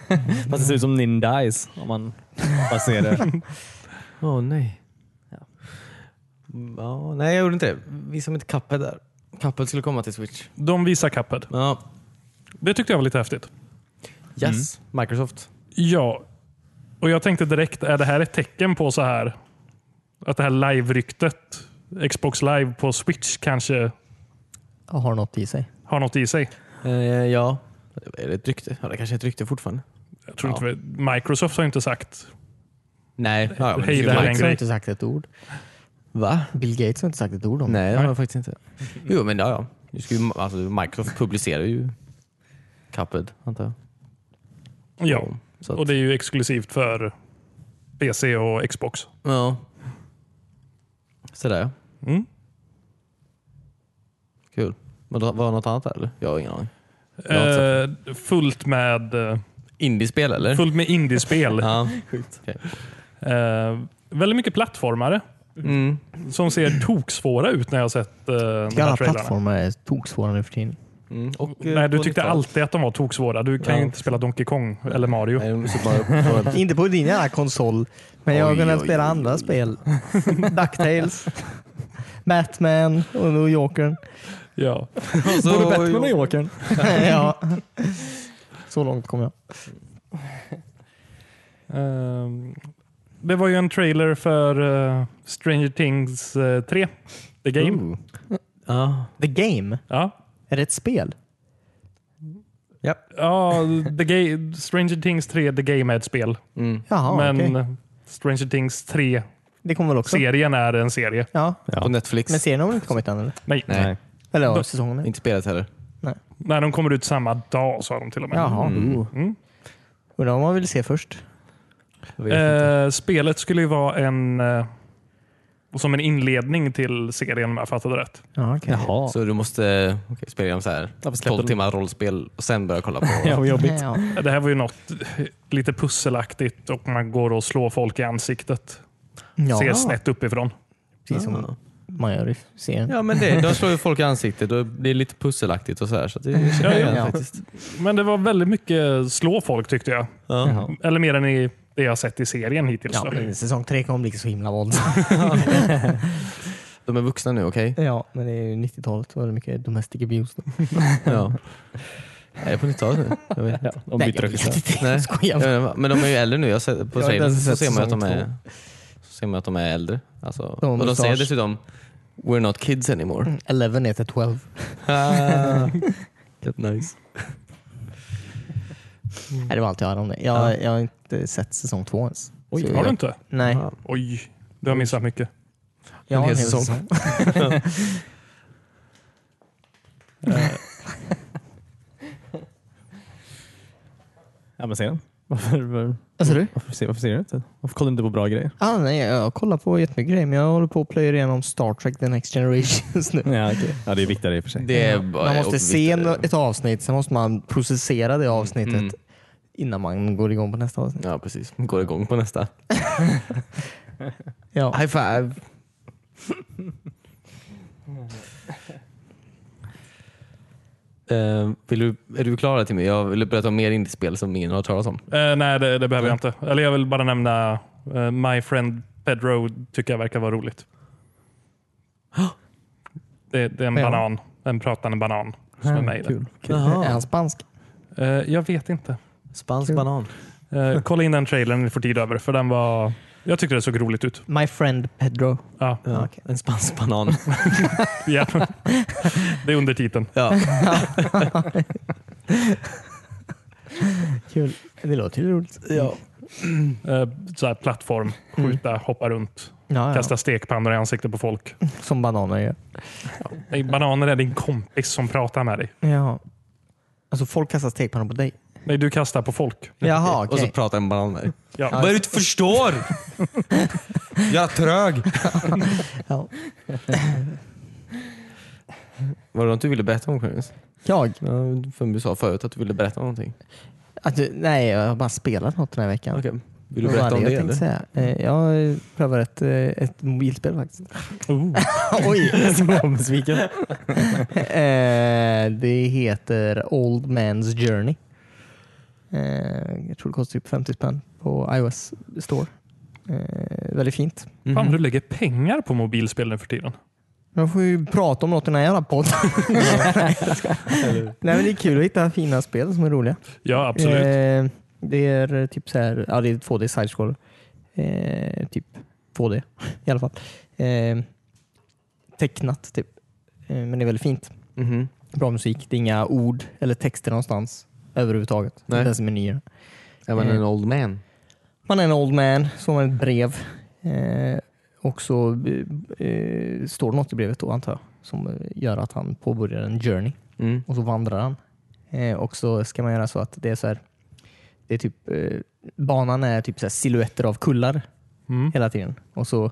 Speaker 5: Fast det ser ut som Nindies om man bara ser det.
Speaker 3: Åh nej. Ja. Ja, nej, jag gjorde inte det. Vi som inte Cuphead där. Cuphead skulle komma till Switch.
Speaker 1: De visar Cuphead.
Speaker 3: Ja.
Speaker 1: Det tyckte jag var lite häftigt.
Speaker 3: Yes, Microsoft.
Speaker 1: Ja, och jag tänkte direkt, är det här ett tecken på så här att det här live-ryktet, Xbox live på Switch kanske
Speaker 2: Och har något i sig.
Speaker 1: har något i sig?
Speaker 3: Eh, ja. Är det ett rykte? Ja, det kanske är ett rykte fortfarande.
Speaker 1: Jag tror
Speaker 3: Ja.
Speaker 1: inte, vi- Microsoft har ju inte sagt
Speaker 3: Nej. Ja, men
Speaker 1: Hej där,
Speaker 3: det är ju
Speaker 1: en
Speaker 2: Microsoft har
Speaker 1: grej.
Speaker 2: inte sagt ett ord.
Speaker 3: Va?
Speaker 2: Bill Gates har inte sagt ett ord om det.
Speaker 3: Nej, det har jag faktiskt inte. Jo, men ja, ja. Nu ska ju, alltså, Microsoft publicerar ju Cuphead, antar jag.
Speaker 1: Ja,
Speaker 3: Så
Speaker 1: och
Speaker 3: att,
Speaker 1: det är ju exklusivt för PC och Xbox.
Speaker 3: ja. Sådär ja.
Speaker 1: Mm.
Speaker 3: Kul. Men då, var det något annat där eller? Jag har ingen aning. Jag har inte sett
Speaker 1: Eh, fullt med eh,
Speaker 3: Indiespel eller?
Speaker 1: fullt med indiespel.
Speaker 3: Ja. Okej.
Speaker 1: eh, väldigt mycket plattformare
Speaker 3: Mm.
Speaker 1: som ser toksvåra ut när jag har sett eh, de här
Speaker 2: Alla
Speaker 1: trailarna.
Speaker 2: plattformar är toksvåra nu för tiden.
Speaker 3: Mm. Och,
Speaker 1: Nej, du tyckte alltid att de var toksvåra. Du kan ju
Speaker 3: Ja.
Speaker 1: inte spela Donkey Kong eller Mario.
Speaker 3: Nej, de måste bara, bara,
Speaker 2: Inte på din jävla konsol, men jag har
Speaker 3: Eh, Oj,
Speaker 2: kunnat
Speaker 3: oj,
Speaker 2: spela
Speaker 3: oj,
Speaker 2: andra
Speaker 3: oj.
Speaker 2: spel. Ducktails, Batman och nu Jokern.
Speaker 1: Ja.
Speaker 3: Så-
Speaker 5: Både Batman och Jokern.
Speaker 2: ja. Så långt kom jag.
Speaker 1: Ehm, det var ju en trailer för eh, Stranger Things eh, 3, The Game.
Speaker 3: ja.
Speaker 2: The Game?
Speaker 1: Ja.
Speaker 2: Är det ett spel?
Speaker 1: Ja, The Ga- Stranger Things 3, The Game är ett spel.
Speaker 3: Mm.
Speaker 2: Jaha,
Speaker 1: men eh,
Speaker 2: okej.
Speaker 1: Stranger Things 3-serien
Speaker 2: Det kommer väl också?
Speaker 1: är en serie.
Speaker 2: Ja.
Speaker 5: Ja.
Speaker 3: På Netflix.
Speaker 2: Men serien har väl inte kommit än? Eller,
Speaker 1: Nej,
Speaker 3: Nej.
Speaker 2: eller ja,
Speaker 1: Då-
Speaker 2: säsongen? Är.
Speaker 3: Inte spelat heller.
Speaker 1: när de kommer ut samma dag sa de till och med.
Speaker 2: Jaha.
Speaker 3: Mm.
Speaker 1: Mm.
Speaker 2: Undrar vad man vill se först?
Speaker 3: Jag vet inte.
Speaker 1: Eh, spelet skulle ju vara en eh, som en inledning till serien om jag fattade rätt.
Speaker 2: Ja, okej.
Speaker 5: Jaha.
Speaker 3: Så du måste okej, spela igenom så här
Speaker 5: Varför släpper
Speaker 3: 12
Speaker 5: de-
Speaker 3: timmar rollspel och sen börja kolla på...
Speaker 5: Ja, vad jobbigt.
Speaker 2: Ja.
Speaker 1: Det här var ju något eh, lite pusselaktigt och man går och slår folk i ansiktet. Ser
Speaker 2: Ja,
Speaker 1: snett uppifrån.
Speaker 2: precis som
Speaker 3: Ja.
Speaker 2: man gör i serien.
Speaker 3: Ja men det, de slår ju folk i ansiktet och det är lite pusselaktigt och så här. Så att det det känner jag igen faktiskt.
Speaker 1: Men det var väldigt mycket slå folk tyckte jag.
Speaker 3: Ja.
Speaker 1: Eller mer än i det jag har sett i serien hittills.
Speaker 2: Ja,
Speaker 1: då.
Speaker 2: men säsong tre kommer bli så himla våldsam.
Speaker 3: De är vuxna nu, okej?
Speaker 2: ja, men det är ju 90-talet. Var det mycket domestic abuse då?
Speaker 3: Ja. Jag är på 90-talet nu. Jag vet.
Speaker 5: Ja, de
Speaker 2: Nej,
Speaker 5: byter
Speaker 2: jag vet
Speaker 5: regissör.
Speaker 2: inte.
Speaker 3: Nej.
Speaker 2: Jag skojar.
Speaker 3: Jag vet, men de är ju äldre nu. Jag har sett, på
Speaker 2: Jag har inte
Speaker 3: trailern
Speaker 2: ens
Speaker 3: så
Speaker 2: sett
Speaker 3: ser man ju att de
Speaker 2: säsong
Speaker 3: är, så ser man att de är äldre. Alltså,
Speaker 2: De har Mm.
Speaker 3: och de säger
Speaker 2: mustasch.
Speaker 3: dessutom “We're not kids anymore”.
Speaker 2: 11 heter 12.
Speaker 3: Ah, Get nice.
Speaker 2: Nej, det var allt jag hade om det. Jag, jag har inte sett säsong två ens.
Speaker 3: Oj,
Speaker 2: Så
Speaker 1: Har du
Speaker 2: jag-
Speaker 1: inte?
Speaker 2: Nej.
Speaker 3: Ja.
Speaker 1: Oj, du har missat mycket.
Speaker 2: Jag har
Speaker 3: hel
Speaker 2: en hel
Speaker 3: säsong.
Speaker 2: säsong.
Speaker 5: Ja, men se den. Varför, var-
Speaker 2: Vad sa du?
Speaker 5: varför, ser, varför ser du inte? Varför kollar du inte på bra grejer?
Speaker 2: Ah, nej, jag kollar på jättemycket grejer, men jag håller på att plöja igenom Star Trek The Next Generation just nu.
Speaker 5: Ja, ja, det är viktigare i och för sig.
Speaker 3: Det är bara-
Speaker 2: Man måste
Speaker 3: och
Speaker 2: se en,
Speaker 3: visst är det-
Speaker 2: ett avsnitt, sen måste man processera det avsnittet
Speaker 3: Mm.
Speaker 2: innan man går igång på nästa avsnitt.
Speaker 3: Ja, precis. Går igång på nästa.
Speaker 2: Ja.
Speaker 3: High five! Eh, vill du, är du klar där Timmy? Jag vill berätta om mer indiespel som ingen har hört talas om.
Speaker 2: Mm.
Speaker 1: Eh, nej, det, det behöver jag inte. Eller jag vill bara nämna eh, My Friend Ped Road tycker jag verkar vara roligt. Det, det är en
Speaker 2: Ja.
Speaker 1: banan. En pratande banan som är med i det.
Speaker 3: Jaha.
Speaker 2: Är han spansk?
Speaker 1: Eh, jag vet inte.
Speaker 3: Spansk
Speaker 2: Kul.
Speaker 3: banan.
Speaker 1: Eh, kolla in den trailern när ni får tid över, för den var... Jag tyckte det såg roligt ut.
Speaker 2: My friend Pedro.
Speaker 1: Ja,
Speaker 3: Ja,
Speaker 2: Okej.
Speaker 3: En spansk banan.
Speaker 1: ja. Det är undertiteln.
Speaker 3: Ja.
Speaker 2: Kul. Det låter ju roligt.
Speaker 3: ja.
Speaker 1: Eh, så här, plattform, skjuta, hoppa runt,
Speaker 2: Mm. Ja, ja.
Speaker 1: kasta stekpannor i ansiktet på folk.
Speaker 2: Som bananer gör.
Speaker 1: Nej, bananer är din kompis som pratar med dig.
Speaker 2: Ja. Alltså folk kastar stekpannor på dig.
Speaker 1: Nej, du kastar på folk.
Speaker 2: Jaha,
Speaker 3: Och
Speaker 2: okej.
Speaker 3: så pratar en banan med dig.
Speaker 1: Ja.
Speaker 3: Vad är det du inte förstår? Jävla trög!
Speaker 2: Ja.
Speaker 3: Var det något du ville berätta om Cornelius?
Speaker 2: Jag?
Speaker 3: Ja, för du sa förut att du ville berätta om någonting.
Speaker 2: Att, du- nej, jag har bara spelat något den här veckan.
Speaker 3: Okej. Vill du
Speaker 2: Vad var
Speaker 3: berätta om det?
Speaker 2: jag tänkte säga?
Speaker 3: Eller?
Speaker 2: Eh, Jag prövar ett, eh, ett mobilspel faktiskt.
Speaker 1: Oh.
Speaker 2: Oj!
Speaker 5: Småbesviken.
Speaker 2: Eh, det heter Old Man's Journey. Eh, jag tror det kostar typ 50 spänn på iOS store. Eh, väldigt fint.
Speaker 3: Mhm.
Speaker 1: Fan, du lägger pengar på mobilspel nu för tiden.
Speaker 2: Jag får ju prata om något i den här jävla podden. Nej, men det är kul att hitta fina spel som är roliga.
Speaker 1: Ja, absolut.
Speaker 2: Eh, det är typ så här, ja det är 2D sidescroller. Eh, typ 2D i alla fall. Eh, tecknat typ. Eh, men det är väldigt fint.
Speaker 3: Mhm.
Speaker 2: Bra musik. Det är inga ord eller texter någonstans överhuvudtaget.
Speaker 3: Nej.
Speaker 2: Inte ens i menyer.
Speaker 3: Är man en old man?
Speaker 2: Man är en old man, så har man ett brev. Eh, och så eh, eh, står det något i brevet då antar jag som eh, gör att han påbörjar en journey.
Speaker 3: Mm.
Speaker 2: Och så vandrar han. Eh, och så ska man göra så att det är så här. Det är typ, eh, banan är typ så här silhuetter av kullar
Speaker 1: Mm.
Speaker 2: hela tiden. Och så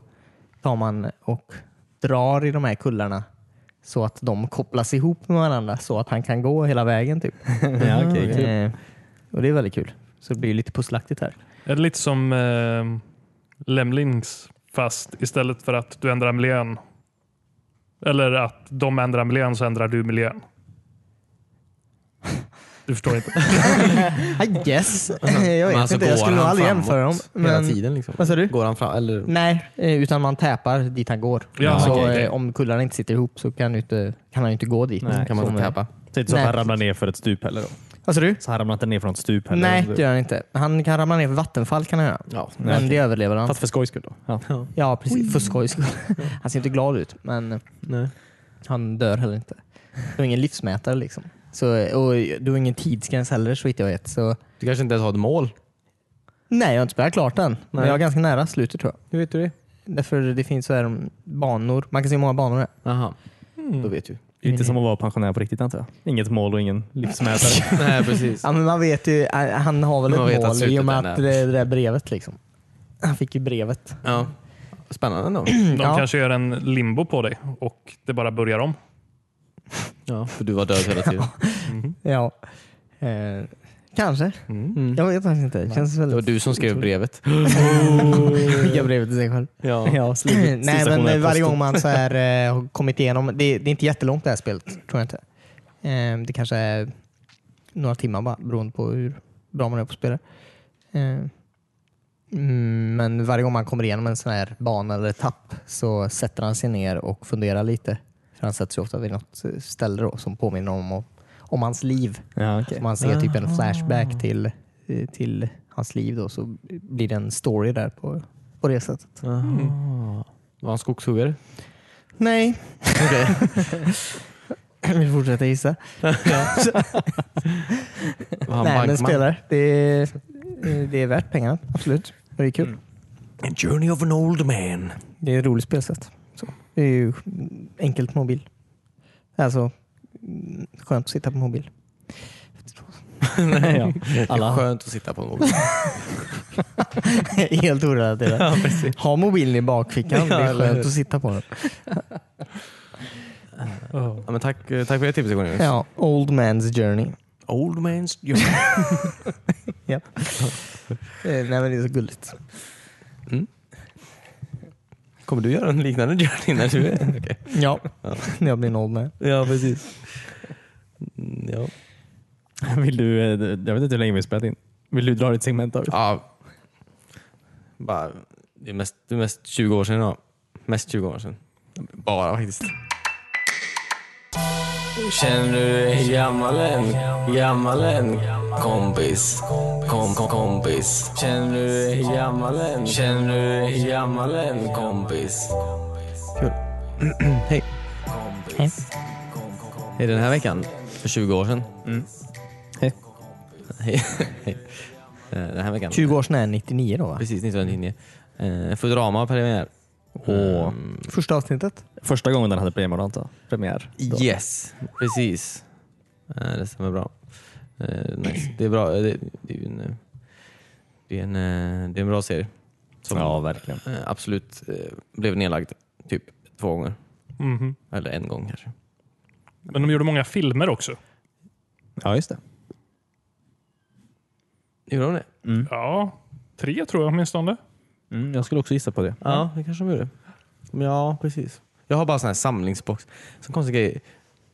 Speaker 2: tar man och drar i de här kullarna så att de kopplas ihop med varandra så att han kan gå hela vägen. Typ.
Speaker 5: ja, okej, kul.
Speaker 2: Eh, och det är väldigt kul. Så det blir ju lite pusselaktigt här.
Speaker 1: Är det lite som eh, Lemlings fast istället för att du ändrar miljön eller att de ändrar miljön så ändrar du miljön? Du förstår inte.
Speaker 2: I guess. jag
Speaker 3: Men
Speaker 2: vet
Speaker 3: alltså,
Speaker 2: inte. Jag
Speaker 3: går
Speaker 2: skulle nog
Speaker 3: han
Speaker 2: aldrig
Speaker 3: framåt
Speaker 2: jämföra dem.
Speaker 3: Hela
Speaker 2: Men,
Speaker 3: tiden liksom.
Speaker 2: vad sa du?
Speaker 3: Går han fram? Eller?
Speaker 2: Nej, eh, utan man täpar dit han går.
Speaker 1: Ja,
Speaker 2: så
Speaker 1: okej, okej.
Speaker 2: eh, om kullarna inte sitter ihop så kan, du inte, kan han ju inte gå dit.
Speaker 5: Nej,
Speaker 3: Kan man
Speaker 2: Som,
Speaker 3: inte
Speaker 2: eh,
Speaker 3: tappa?
Speaker 5: Så inte så att
Speaker 2: Nej,
Speaker 5: han ramlar ner för ett stup heller? Då.
Speaker 2: Vad sa du?
Speaker 5: Så han ramlar inte ner från ett stup heller?
Speaker 2: Nej,
Speaker 5: Så-
Speaker 2: det gör han inte. Han kan ramla ner för vattenfall kan han göra.
Speaker 3: Ja.
Speaker 2: Men
Speaker 5: okej.
Speaker 2: det överlever han.
Speaker 5: Fast för skojs skull då? Ja.
Speaker 2: Ja, precis. För skojs skull. Han ser inte glad ut, men
Speaker 3: Nej.
Speaker 2: han dör heller inte. Du har ingen livsmätare liksom. Så, och du har ingen tidsgräns heller så vitt jag vet. Så,
Speaker 3: Du kanske inte ens har ett mål?
Speaker 2: nej, jag har inte spelat klart än. Men
Speaker 3: Nej.
Speaker 2: jag är ganska nära slutet tror jag.
Speaker 3: Hur vet du det?
Speaker 2: Därför det finns så här banor. Man kan se hur många banor det är.
Speaker 3: Jaha. Då vet du.
Speaker 5: Det är Inte som att vara pensionär på riktigt antar jag. Inget mål och ingen livsmätare.
Speaker 3: Nej, precis.
Speaker 2: Ja, men man vet ju, eh, han har väl
Speaker 3: Man vet
Speaker 2: ett
Speaker 3: att
Speaker 2: mål i
Speaker 3: slutet
Speaker 2: och med
Speaker 3: är
Speaker 2: att
Speaker 3: nära.
Speaker 2: det, det där brevet liksom. Han fick ju brevet.
Speaker 3: Ja. Spännande ändå.
Speaker 1: De
Speaker 2: Ja.
Speaker 1: kanske gör en limbo på dig och det bara börjar om.
Speaker 3: Ja, för du var död hela tiden.
Speaker 1: Mhm.
Speaker 2: Ja. Eh, kanske.
Speaker 3: Mm.
Speaker 2: Jag vet faktiskt inte. Det känns
Speaker 3: Det var
Speaker 2: väldigt...
Speaker 3: du som skrev brevet.
Speaker 5: Oh.
Speaker 2: Skicka brevet till sig själv.
Speaker 3: Ja.
Speaker 5: ja,
Speaker 2: Nej,
Speaker 5: slutet.
Speaker 2: men
Speaker 5: Sensationell
Speaker 2: eh, varje
Speaker 5: post.
Speaker 2: gång man så här, eh, har kommit igenom. Det, det är inte jättelångt det här spelet, tror jag inte. Eh, det kanske är några timmar bara, beroende på hur bra man är på att spela. Eh, mm, men varje gång man kommer igenom en sån här bana eller etapp så sätter han sig ner och funderar lite. För han sätter sig ofta vid något eh, ställe då, som påminner om, om, om hans liv.
Speaker 5: Ja, okej.
Speaker 2: Så man ser typ en
Speaker 3: Ah.
Speaker 2: flashback till, eh, till hans liv då, så blir det en story där på, på det sättet.
Speaker 3: Var han skogshuggare?
Speaker 2: Nej. Vi fortsätter gissa.
Speaker 3: Var han
Speaker 2: Nej, men
Speaker 3: bankman?
Speaker 2: spelar. Det är, det är värt pengarna, absolut. Det är kul.
Speaker 3: A journey of an old man.
Speaker 2: Det är ett roligt spelsätt. Så. Det är ju enkelt mobil. Alltså, mm, skönt att sitta på mobil.
Speaker 5: Nej, ja. Alla.
Speaker 3: Skönt att sitta på en mobil.
Speaker 2: Helt orelaterat. ha mobilen i bakfickan. det
Speaker 3: Ja,
Speaker 2: är
Speaker 3: eller
Speaker 2: skönt
Speaker 3: hur?
Speaker 2: att sitta på den.
Speaker 3: ja, men tack, eh, tack för det tipset Cornelius.
Speaker 2: Ja, Old Man's Journey.
Speaker 3: Old man's journey.
Speaker 2: Ja. Eh, Nej, men det är så gulligt.
Speaker 3: Kommer du göra en liknande journey när du är Okej.
Speaker 2: Ja, när jag blir en old man.
Speaker 3: Ja, precis. Mm, Ja.
Speaker 5: Vill du, eh, jag vet inte hur länge vi har spelat in. Vill du dra ditt segment David?
Speaker 3: ja. Bara Det är mest, det är mest 20 år sedan ja. Mest 20 år sedan. Bara faktiskt.
Speaker 6: Känner du dig gammal än? Gammal än? Kompis, kom, kom, kompis. Känner du dig gammal än? Känner du dig gammal än? Kompis.
Speaker 3: Hej.
Speaker 2: Hej.
Speaker 3: Hej den här veckan, för 20 år sedan.
Speaker 5: Hej.
Speaker 3: Hej. Hej. Eh, Den här veckan.
Speaker 2: 20 år sedan är 99 då va?
Speaker 3: Precis, 1999. Eh, Futurama premiär. Ehm,
Speaker 5: Och
Speaker 2: Första avsnittet.
Speaker 5: Första gången den hade premiär, antar jag. Premiär. då.
Speaker 3: Yes, precis. Eh, Det stämmer bra. Eh, Nice. Det är bra. eh, Det det är ju en, eh, det är en, eh, det är en bra serie. Som
Speaker 5: Ja, verkligen.
Speaker 3: eh, absolut eh, blev nedlagd typ två gånger.
Speaker 1: Mhm.
Speaker 3: Eller en gång kanske.
Speaker 1: Men de gjorde många filmer också.
Speaker 5: Ja, just det.
Speaker 3: Gjorde de det?
Speaker 2: Mm.
Speaker 1: Ja, tre tror jag åtminstone.
Speaker 5: Mm, jag skulle också gissa på det.
Speaker 3: Ja, det kanske de gjorde. Ja, precis. Jag har bara sån här samlingsbox. Sån konstig grej.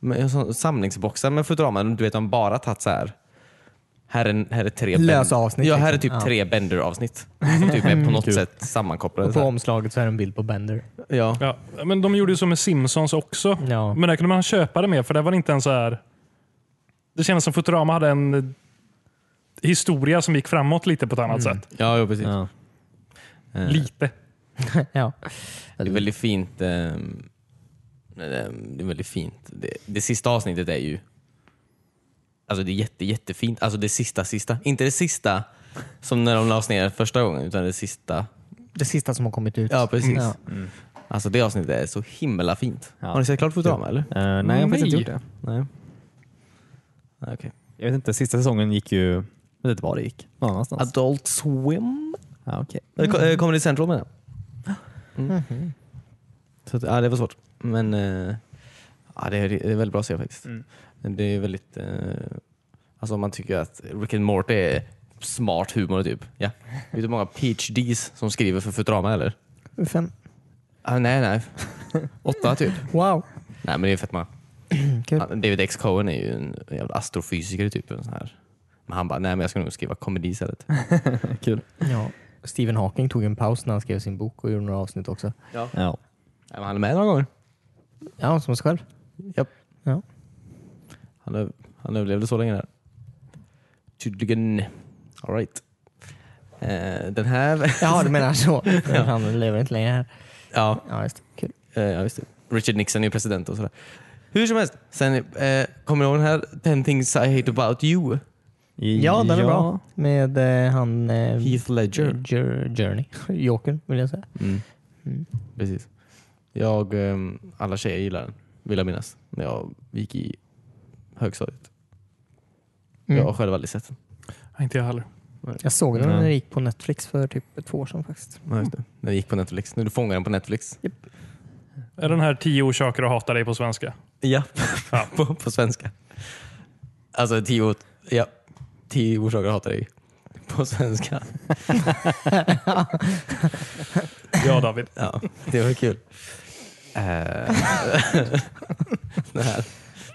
Speaker 3: Men jag har sån- Samlingsboxar med Futurama. Du vet, de har bara tagit så här. Här är, här är tre
Speaker 2: Lösa
Speaker 3: Bender-
Speaker 2: avsnitt,
Speaker 3: Ja, här är
Speaker 2: liksom.
Speaker 3: typ
Speaker 2: Ja.
Speaker 3: tre Bender-avsnitt. Som typ är på något sätt sammankopplade.
Speaker 2: Och på
Speaker 3: så
Speaker 2: omslaget så är det en bild på Bender.
Speaker 3: här. Ja.
Speaker 1: Ja, men de gjorde ju så med Simpsons också.
Speaker 2: Ja.
Speaker 1: Men där kunde man köpa det med, för det var inte en så här... Det kändes som Futurama hade en eh, historia som gick framåt lite på ett annat sätt.
Speaker 3: Ja, jo, precis.
Speaker 5: Ja.
Speaker 3: Eh,
Speaker 1: Lite.
Speaker 2: ja.
Speaker 3: Det är väldigt fint. ehm, ehm, det är väldigt fint. Det, det sista avsnittet är ju... Alltså det är jätte, jättefint. Alltså det sista, sista. Inte det sista som när de lades ner första gången, utan det sista
Speaker 2: Det sista som har kommit ut.
Speaker 3: Ja, precis.
Speaker 2: Ja.
Speaker 3: Alltså det avsnittet är så himla fint.
Speaker 5: Ja.
Speaker 3: Har ni sett klart Futurama eller?
Speaker 5: Eh, nej, jag har faktiskt inte
Speaker 1: Nej.
Speaker 5: gjort det. Nej.
Speaker 3: Nej,
Speaker 5: Jag vet inte, sista säsongen gick ju... Jag vet inte var det gick. Någon annanstans.
Speaker 3: Adult Swim?
Speaker 5: ja, okej.
Speaker 3: Mm. Kommer det Central med den? Mm. Så att, ja, det var svårt. Men eh, ja, det, är, det är väldigt bra serie faktiskt. Det är väldigt... Eh, alltså om man tycker att Rick and Morty är smart humor typ. Ja. Vet du hur många PhDs som skriver för Futurama eller?
Speaker 2: Fem.
Speaker 3: Ah, nej, nej. Åtta typ.
Speaker 2: Wow.
Speaker 3: Nej men det är fett många.
Speaker 2: Kul.
Speaker 3: Han- David X. Cohen är ju en jävla astrofysiker typ. En sån här. Men han bara, nej men jag ska nog skriva komedi istället.
Speaker 5: Kul.
Speaker 2: Ja. Stephen Hawking tog en paus när han skrev sin bok och gjorde några avsnitt också.
Speaker 5: Ja.
Speaker 3: Nej, men han är med några gånger.
Speaker 2: Ja, som sig själv.
Speaker 3: Japp.
Speaker 2: Ja.
Speaker 3: Han, öv- han överlevde så länge där. Tydligen. All right. Eh, den här...
Speaker 2: Ja, du menar så. Han lever inte längre här.
Speaker 3: ja,
Speaker 2: Ja, just det. Kul.
Speaker 3: eh, ja, just det. Richard Nixon är ju president och sådär. Hur som helst. Sen, eh, kommer du ihåg den här 10 things I hate about you?
Speaker 2: Ja, den är bra. Med eh, han... Eh,
Speaker 3: Heath Ledger.
Speaker 2: Jer- Journey. Jokern, vill jag säga.
Speaker 3: Mm.
Speaker 2: Mm.
Speaker 3: Precis. Jag, ehm, alla tjejer gillar den, vill jag minnas, när jag gick i högstadiet.
Speaker 2: Mm.
Speaker 3: Jag har själv aldrig sett den.
Speaker 1: Nej, Inte jag heller.
Speaker 2: Jag såg den när
Speaker 5: Mm.
Speaker 2: den gick på Netflix för typ två år sedan faktiskt.
Speaker 3: När jag gick på Netflix. När du fångade den på Netflix.
Speaker 1: Är den här tio orsaker att hata dig på svenska?
Speaker 3: Ja,
Speaker 1: Ja.
Speaker 3: på, på svenska. Alltså tio, ot- ja, tio orsaker att hata dig. På svenska.
Speaker 1: Ja, David.
Speaker 3: Ja, det var kul. Eh, det, här,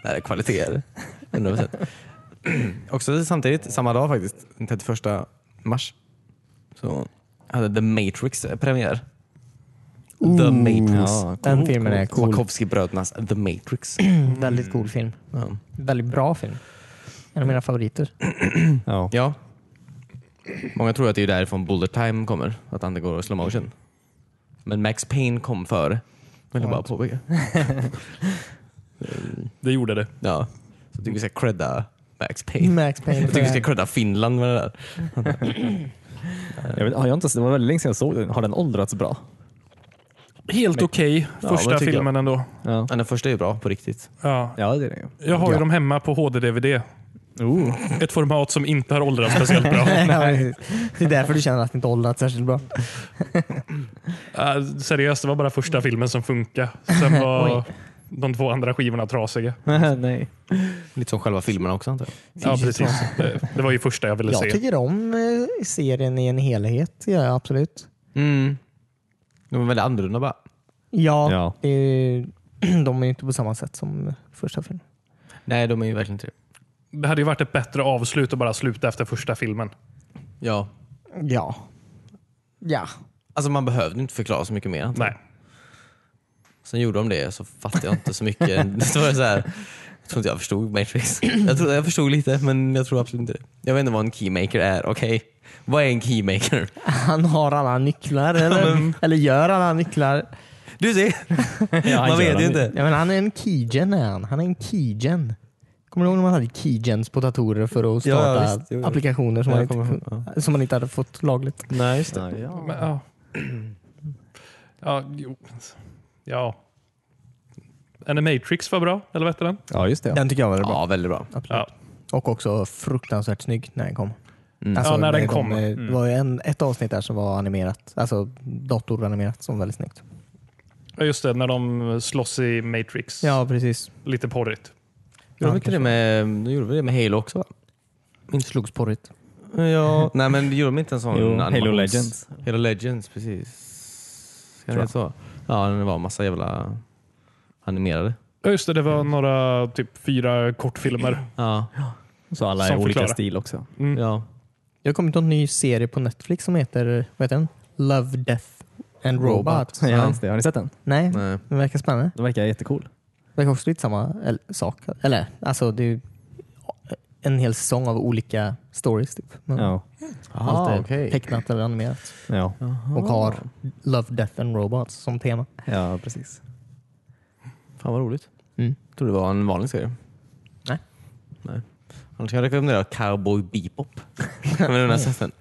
Speaker 3: det här är kvaliteter. 100%. Också samtidigt, samma dag faktiskt, den 31 mars, så hade The Matrix eh, premiär. The Matrix. Oh,
Speaker 5: Ja,
Speaker 2: Den filmen är cool.
Speaker 3: Wachowski-brödernas The Matrix.
Speaker 2: Väldigt cool film.
Speaker 3: Ja.
Speaker 2: Väldigt bra film. En av mina favoriter.
Speaker 5: Ja.
Speaker 3: ja. Många tror att det är därifrån Bullet Time kommer, att han går i slow motion. Men Max Payne kom före. Vill jag bara påpeka.
Speaker 1: Det gjorde det.
Speaker 3: Ja. Så jag tycker vi ska credda Max Payne.
Speaker 2: Max Payne.
Speaker 3: Jag tycker vi ska
Speaker 2: för-
Speaker 3: credda Finland med det där.
Speaker 5: Jag vet, har jag inte, det var väldigt länge sedan jag såg den. Har den åldrats bra?
Speaker 1: Helt okej.
Speaker 3: Ja,
Speaker 1: Första
Speaker 3: vad tycker
Speaker 1: filmen ändå.
Speaker 5: Ja,
Speaker 3: Men den första är ju bra på riktigt.
Speaker 1: Ja.
Speaker 5: ja det är den ju.
Speaker 1: Jag har ju dem hemma på HD-DVD. Ett format som inte har åldrats speciellt bra.
Speaker 2: Nej, precis. det är därför du känner att det inte åldrats särskilt bra.
Speaker 1: Äh, seriöst, det var bara första filmen som funkade. Sen var de två andra skivorna trasiga.
Speaker 5: Nej.
Speaker 3: Lite som själva filmerna också antar jag.
Speaker 1: Ja, precis. Det, det var ju första jag ville
Speaker 2: Jag
Speaker 1: se.
Speaker 2: tycker om eh, serien i en helhet. Ja, absolut.
Speaker 3: Mm. De är väldigt annorlunda bara.
Speaker 2: Ja,
Speaker 5: Ja.
Speaker 2: Det är, ju- de är ju inte på samma sätt som första filmen.
Speaker 3: Nej, de är ju verkligen inte det.
Speaker 1: Det hade ju varit ett bättre avslut att bara sluta efter första filmen.
Speaker 3: Ja.
Speaker 2: Ja. Ja.
Speaker 3: Alltså man behövde inte förklara så mycket mer. antar jag.
Speaker 1: Nej.
Speaker 3: Sen gjorde de det så fattade jag inte så mycket. det var så här, jag tror inte jag förstod Matrix. Jag, tror, jag förstod lite men jag tror absolut inte det. Jag vet inte vad en keymaker är. Okej, vad är en keymaker?
Speaker 2: Han har alla nycklar, eller, eller gör alla nycklar.
Speaker 3: Du ser,
Speaker 5: Ja, han
Speaker 3: man
Speaker 5: gör
Speaker 3: vet ju
Speaker 5: dem.
Speaker 3: inte.
Speaker 2: Ja, men han är en keygen är han. Han är en keygen. Kommer du ihåg när man hade keygens på datorer för att
Speaker 3: Ja,
Speaker 2: starta
Speaker 3: visst. Jo, jo.
Speaker 2: applikationer som, man
Speaker 3: Ja, jag
Speaker 2: inte,
Speaker 3: kommer ihåg.
Speaker 2: kun- som man inte hade fått lagligt?
Speaker 3: Nej, just det.
Speaker 1: Men, ja. ja, jo. Ja. Animatrix var bra, eller vad hette den?
Speaker 5: Ja, just det.
Speaker 2: Den tycker jag var bra.
Speaker 3: Ja, väldigt bra.
Speaker 2: Absolut.
Speaker 1: Ja.
Speaker 2: Och också fruktansvärt snygg när den kom.
Speaker 3: Mm.
Speaker 1: Ja, när den kom,
Speaker 2: eh,
Speaker 1: ja.
Speaker 2: Det var ju en, ett avsnitt där som var animerat, alltså datoranimerat, som var väldigt snyggt.
Speaker 1: Ja, Just det, när de slåss i Matrix.
Speaker 2: Ja, precis.
Speaker 1: Lite porrigt.
Speaker 3: Gjorde de inte det med, de gjorde väl det med Halo också va?
Speaker 2: Inte slogs porrigt.
Speaker 3: Ja, nej men gjorde de inte en sån
Speaker 5: Jo, Halo
Speaker 3: animations-
Speaker 5: Legends.
Speaker 3: Halo Legends, precis. Ska det
Speaker 5: Tror jag.
Speaker 3: heta så? Ja, det var en massa jävla animerade.
Speaker 1: Ja, just det, det var några typ fyra kortfilmer.
Speaker 3: Ja,
Speaker 5: Så alla är
Speaker 1: Som
Speaker 5: olika
Speaker 1: förklarar.
Speaker 5: stil också.
Speaker 3: ja.
Speaker 2: Det har kommit en ny serie på Netflix som heter, vad heter den? Love, Death and Robot.
Speaker 5: Ja, just det. Har ni sett den?
Speaker 2: Nej,
Speaker 3: Nej.
Speaker 2: den verkar spännande.
Speaker 5: Den verkar jättecool.
Speaker 2: verkar också lite samma eller, sak. Eller, alltså det är ju en hel säsong av olika stories. Typ. Men
Speaker 5: Ja.
Speaker 2: Allt är
Speaker 3: okej.
Speaker 2: tecknat eller animerat.
Speaker 5: Ja.
Speaker 2: Och har Love, Death and Robots som tema.
Speaker 5: ja, precis.
Speaker 3: Fan vad roligt.
Speaker 2: Mm.
Speaker 3: Jag tror det var en vanlig serie.
Speaker 2: Nej.
Speaker 3: Nej. Annars kan jag rekommendera Cowboy Bebop. Men den har sett den.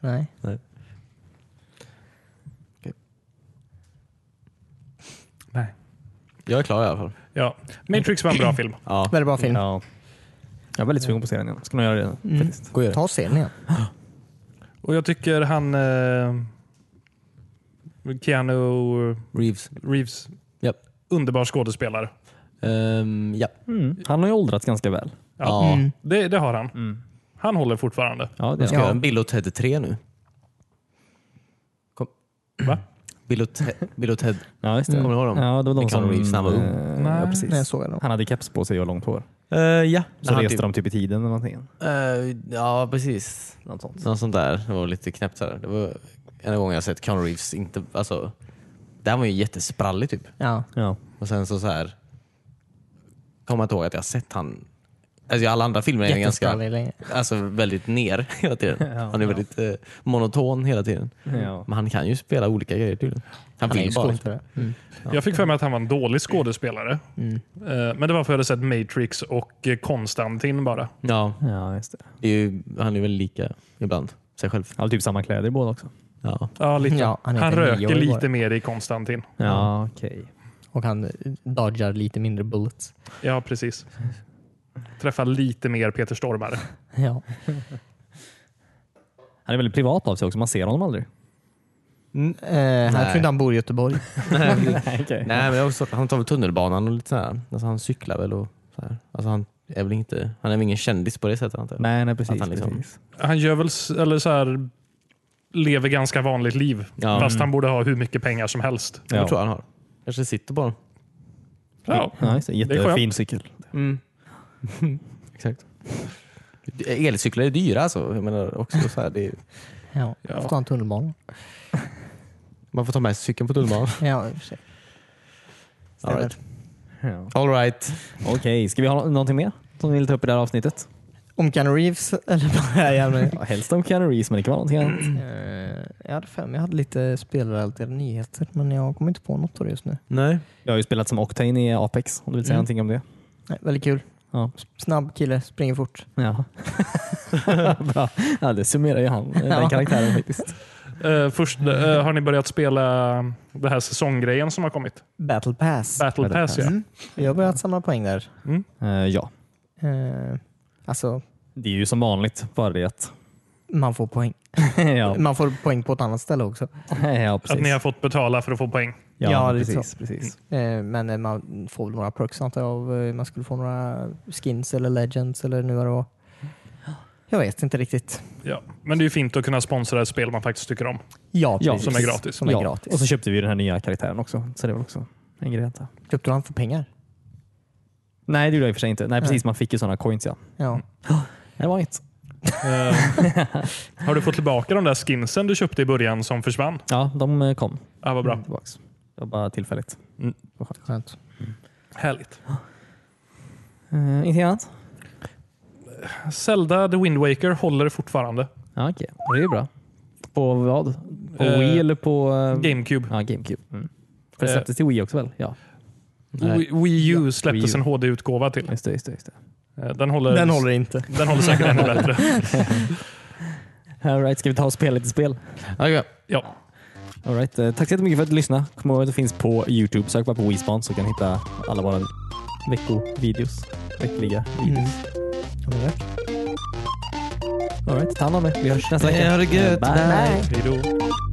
Speaker 2: Nej.
Speaker 1: Nej.
Speaker 3: Jag är klar i alla fall.
Speaker 1: Ja. Matrix var en bra film.
Speaker 3: Ja.
Speaker 2: Väldigt bra film.
Speaker 5: Ja. Jag är väldigt sugen på serien igen. Ska nog göra det
Speaker 2: Mm.
Speaker 5: faktiskt.
Speaker 3: Gå och gör det.
Speaker 2: Ta scenen igen.
Speaker 1: Och jag tycker han... Eh, Keanu
Speaker 3: Reeves.
Speaker 1: Reeves.
Speaker 3: Japp.
Speaker 1: Underbar skådespelare.
Speaker 3: Ehm, ja.
Speaker 5: Han har ju åldrats ganska väl.
Speaker 3: Ja.
Speaker 2: Mm.
Speaker 1: Det, det har han. Han håller fortfarande.
Speaker 5: Ja,
Speaker 3: Jag
Speaker 5: det
Speaker 3: ska
Speaker 5: ja.
Speaker 3: göra en Bill och Ted 3 nu. Kom.
Speaker 1: Va?
Speaker 3: Bill och, Te- Bill och Ted.
Speaker 5: ja, just det.
Speaker 3: Kommer du ihåg dem?
Speaker 5: Ja, det var de
Speaker 3: Med Keanu
Speaker 5: som...
Speaker 3: Reeves när han var ung.
Speaker 5: eh,
Speaker 1: Nej.
Speaker 5: ja, precis.
Speaker 2: Nej, jag såg den.
Speaker 5: Han hade keps på sig och långt hår.
Speaker 3: Eh, ja.
Speaker 5: Så
Speaker 3: Han
Speaker 5: reste
Speaker 3: typ-
Speaker 5: de typ i tiden eller någonting.
Speaker 3: Eh, ja, precis.
Speaker 5: Något sånt.
Speaker 3: Något sånt där. Det var lite knäppt. Så här. Det var en gång jag sett Keanu Reeves inte... Alltså, där var ju jättesprallig typ.
Speaker 2: Ja.
Speaker 5: Ja.
Speaker 3: Och sen så, så här kommer jag inte ihåg att jag har sett han... Alltså i alla andra filmer är han ganska,
Speaker 2: Jättestarrig länge.
Speaker 3: alltså väldigt ner hela tiden. Han är väldigt eh, monoton hela tiden.
Speaker 5: Ja.
Speaker 3: Men han kan ju spela olika grejer tydligen. Han,
Speaker 2: Han är
Speaker 3: vill
Speaker 2: ju
Speaker 3: bara.
Speaker 2: skådespelare. Mm.
Speaker 1: Jag fick för mig att han var en dålig skådespelare. Eh, Men det var för att jag hade sett Matrix och eh, Konstantin bara.
Speaker 3: Ja,
Speaker 5: ja, just det.
Speaker 3: det är ju, han är väl lika ibland. Sig själv.
Speaker 5: Han har typ samma kläder i båda också.
Speaker 3: Ja.
Speaker 1: Ja, lite.
Speaker 2: Ja, han
Speaker 1: han
Speaker 2: heter Neo
Speaker 1: röker
Speaker 2: i
Speaker 1: lite
Speaker 2: vår.
Speaker 1: mer i Konstantin.
Speaker 5: Ja, okej.
Speaker 2: Och han eh, dodgar lite mindre bullets.
Speaker 1: Ja, precis. Träffar lite mer Peter Stormare.
Speaker 2: Ja.
Speaker 5: Han är väldigt privat av sig också. Man ser honom aldrig.
Speaker 2: Eh, han
Speaker 3: Nej.
Speaker 2: tror inte han bor i Göteborg.
Speaker 5: Nej, okej.
Speaker 3: Nej, men det är också, han tar väl tunnelbanan och lite så här. Alltså, han cyklar väl och så här. Alltså, han är väl inte, han är väl ingen kändis på det sättet antar jag.
Speaker 5: Nej, nej,
Speaker 3: Att
Speaker 5: precis.
Speaker 3: han liksom-
Speaker 5: precis.
Speaker 1: Han gör väl, s- eller så här, lever ganska vanligt liv.
Speaker 3: Ja.
Speaker 1: Fast han borde ha hur mycket pengar som helst.
Speaker 3: Jag
Speaker 5: Ja.
Speaker 3: tror han har. Kanske sitter på honom.
Speaker 1: Ja.
Speaker 5: Ja, just det.
Speaker 1: skönt.
Speaker 5: Jättefin cykel.
Speaker 3: Exakt. Elcyklar är dyra alltså. Jag menar också så här, det är,
Speaker 2: Ja.
Speaker 1: Ja.
Speaker 2: Får ta en tunnelbana.
Speaker 3: man får ta med cykeln på tunnelbanan.
Speaker 2: Ja, i och för sig.
Speaker 3: All
Speaker 2: Stämmer.
Speaker 3: right.
Speaker 5: Ja.
Speaker 3: All right.
Speaker 5: Okej, ska vi ha nå- någonting mer som vi vill ta upp i det här avsnittet?
Speaker 2: Om Keanu Reeves eller bara i allmänhet.
Speaker 5: Ja, helst om Keanu Reeves, men det kan vara någonting annat.
Speaker 2: Eh, Jag hade fem. Jag hade lite spelrelaterade nyheter, men jag kommer inte på något av det just nu.
Speaker 3: Nej.
Speaker 5: Jag har ju spelat som Octane i Apex, om du vill säga
Speaker 2: Mm.
Speaker 5: någonting om det.
Speaker 2: Nej, väldigt kul.
Speaker 5: Ja.
Speaker 2: S- Snabb kille, springer fort.
Speaker 5: Ja. Bra. Ja, det summerar ju han, eh,
Speaker 2: Ja.
Speaker 5: den karaktären faktiskt.
Speaker 1: Eh, först, eh, har ni börjat spela det här säsonggrejen som har kommit?
Speaker 2: Battle Pass.
Speaker 1: Battle
Speaker 5: Battle
Speaker 1: Pass,
Speaker 5: Pass.
Speaker 1: ja.
Speaker 2: Mm. Jag har börjat samla poäng där.
Speaker 5: Eh, ja,
Speaker 2: Eh, Alltså,
Speaker 5: det är ju som vanligt, bara det att...
Speaker 2: man får poäng.
Speaker 5: ja.
Speaker 2: Man får poäng på ett annat ställe också.
Speaker 5: ja, precis.
Speaker 1: Att ni har fått betala för att få poäng.
Speaker 5: Ja,
Speaker 2: Ja, det är
Speaker 5: precis. precis.
Speaker 2: Eh, Men eh, man får väl några perks antar jag. av, eh, Man skulle få några skins eller legends eller nu vad det var. Jag vet inte riktigt.
Speaker 1: Ja. Men det är ju fint att kunna sponsra ett spel man faktiskt tycker om.
Speaker 2: Ja,
Speaker 5: Ja,
Speaker 2: precis.
Speaker 1: som är gratis.
Speaker 2: Som är
Speaker 5: ja.
Speaker 2: gratis.
Speaker 5: Och så köpte vi ju den här nya karaktären också, så det var också en grej. antar jag.
Speaker 2: Köpte du han för pengar?
Speaker 5: Nej, det gjorde jag i och för sig inte. Nej, precis. Man fick ju sådana coins, ja.
Speaker 2: Ja.
Speaker 5: Det var inget.
Speaker 1: Eh, har du fått tillbaka de där skinsen du köpte i början som försvann?
Speaker 5: Ja, de eh, kom
Speaker 1: Ah, vad bra.
Speaker 5: tillbaks. Det var bara tillfälligt. Mm.
Speaker 2: Skönt.
Speaker 1: Härligt.
Speaker 5: Uh, ingenting annat?
Speaker 1: Zelda The Wind Waker håller fortfarande.
Speaker 5: Ja, okej. Det är ju bra. På vad? På
Speaker 1: Eh,
Speaker 5: Wii eller på... eh,
Speaker 1: GameCube.
Speaker 5: Ja, GameCube. Mm. För det släpptes till Wii också väl? Ja, Nej.
Speaker 1: Wii- Wii U släpptes
Speaker 5: Wii U.
Speaker 1: en HD-utgåva till.
Speaker 5: just det. Just det, just det.
Speaker 1: Eh, Den håller,
Speaker 2: Den håller inte.
Speaker 1: den håller säkert ännu bättre.
Speaker 5: All right, ska vi ta och spela lite spel?
Speaker 3: Okej.
Speaker 1: Ja.
Speaker 5: All right. eh, Tack så jättemycket för att du lyssnade. Kom ihåg att det finns på Youtube. Sök bara på WeSpawn så kan du hitta alla våra veckovideos. Veckliga videos. All right, ta hand om er. Vi hörs nästa vecka.
Speaker 3: Ha det gött.
Speaker 5: Bye.
Speaker 1: Hej då.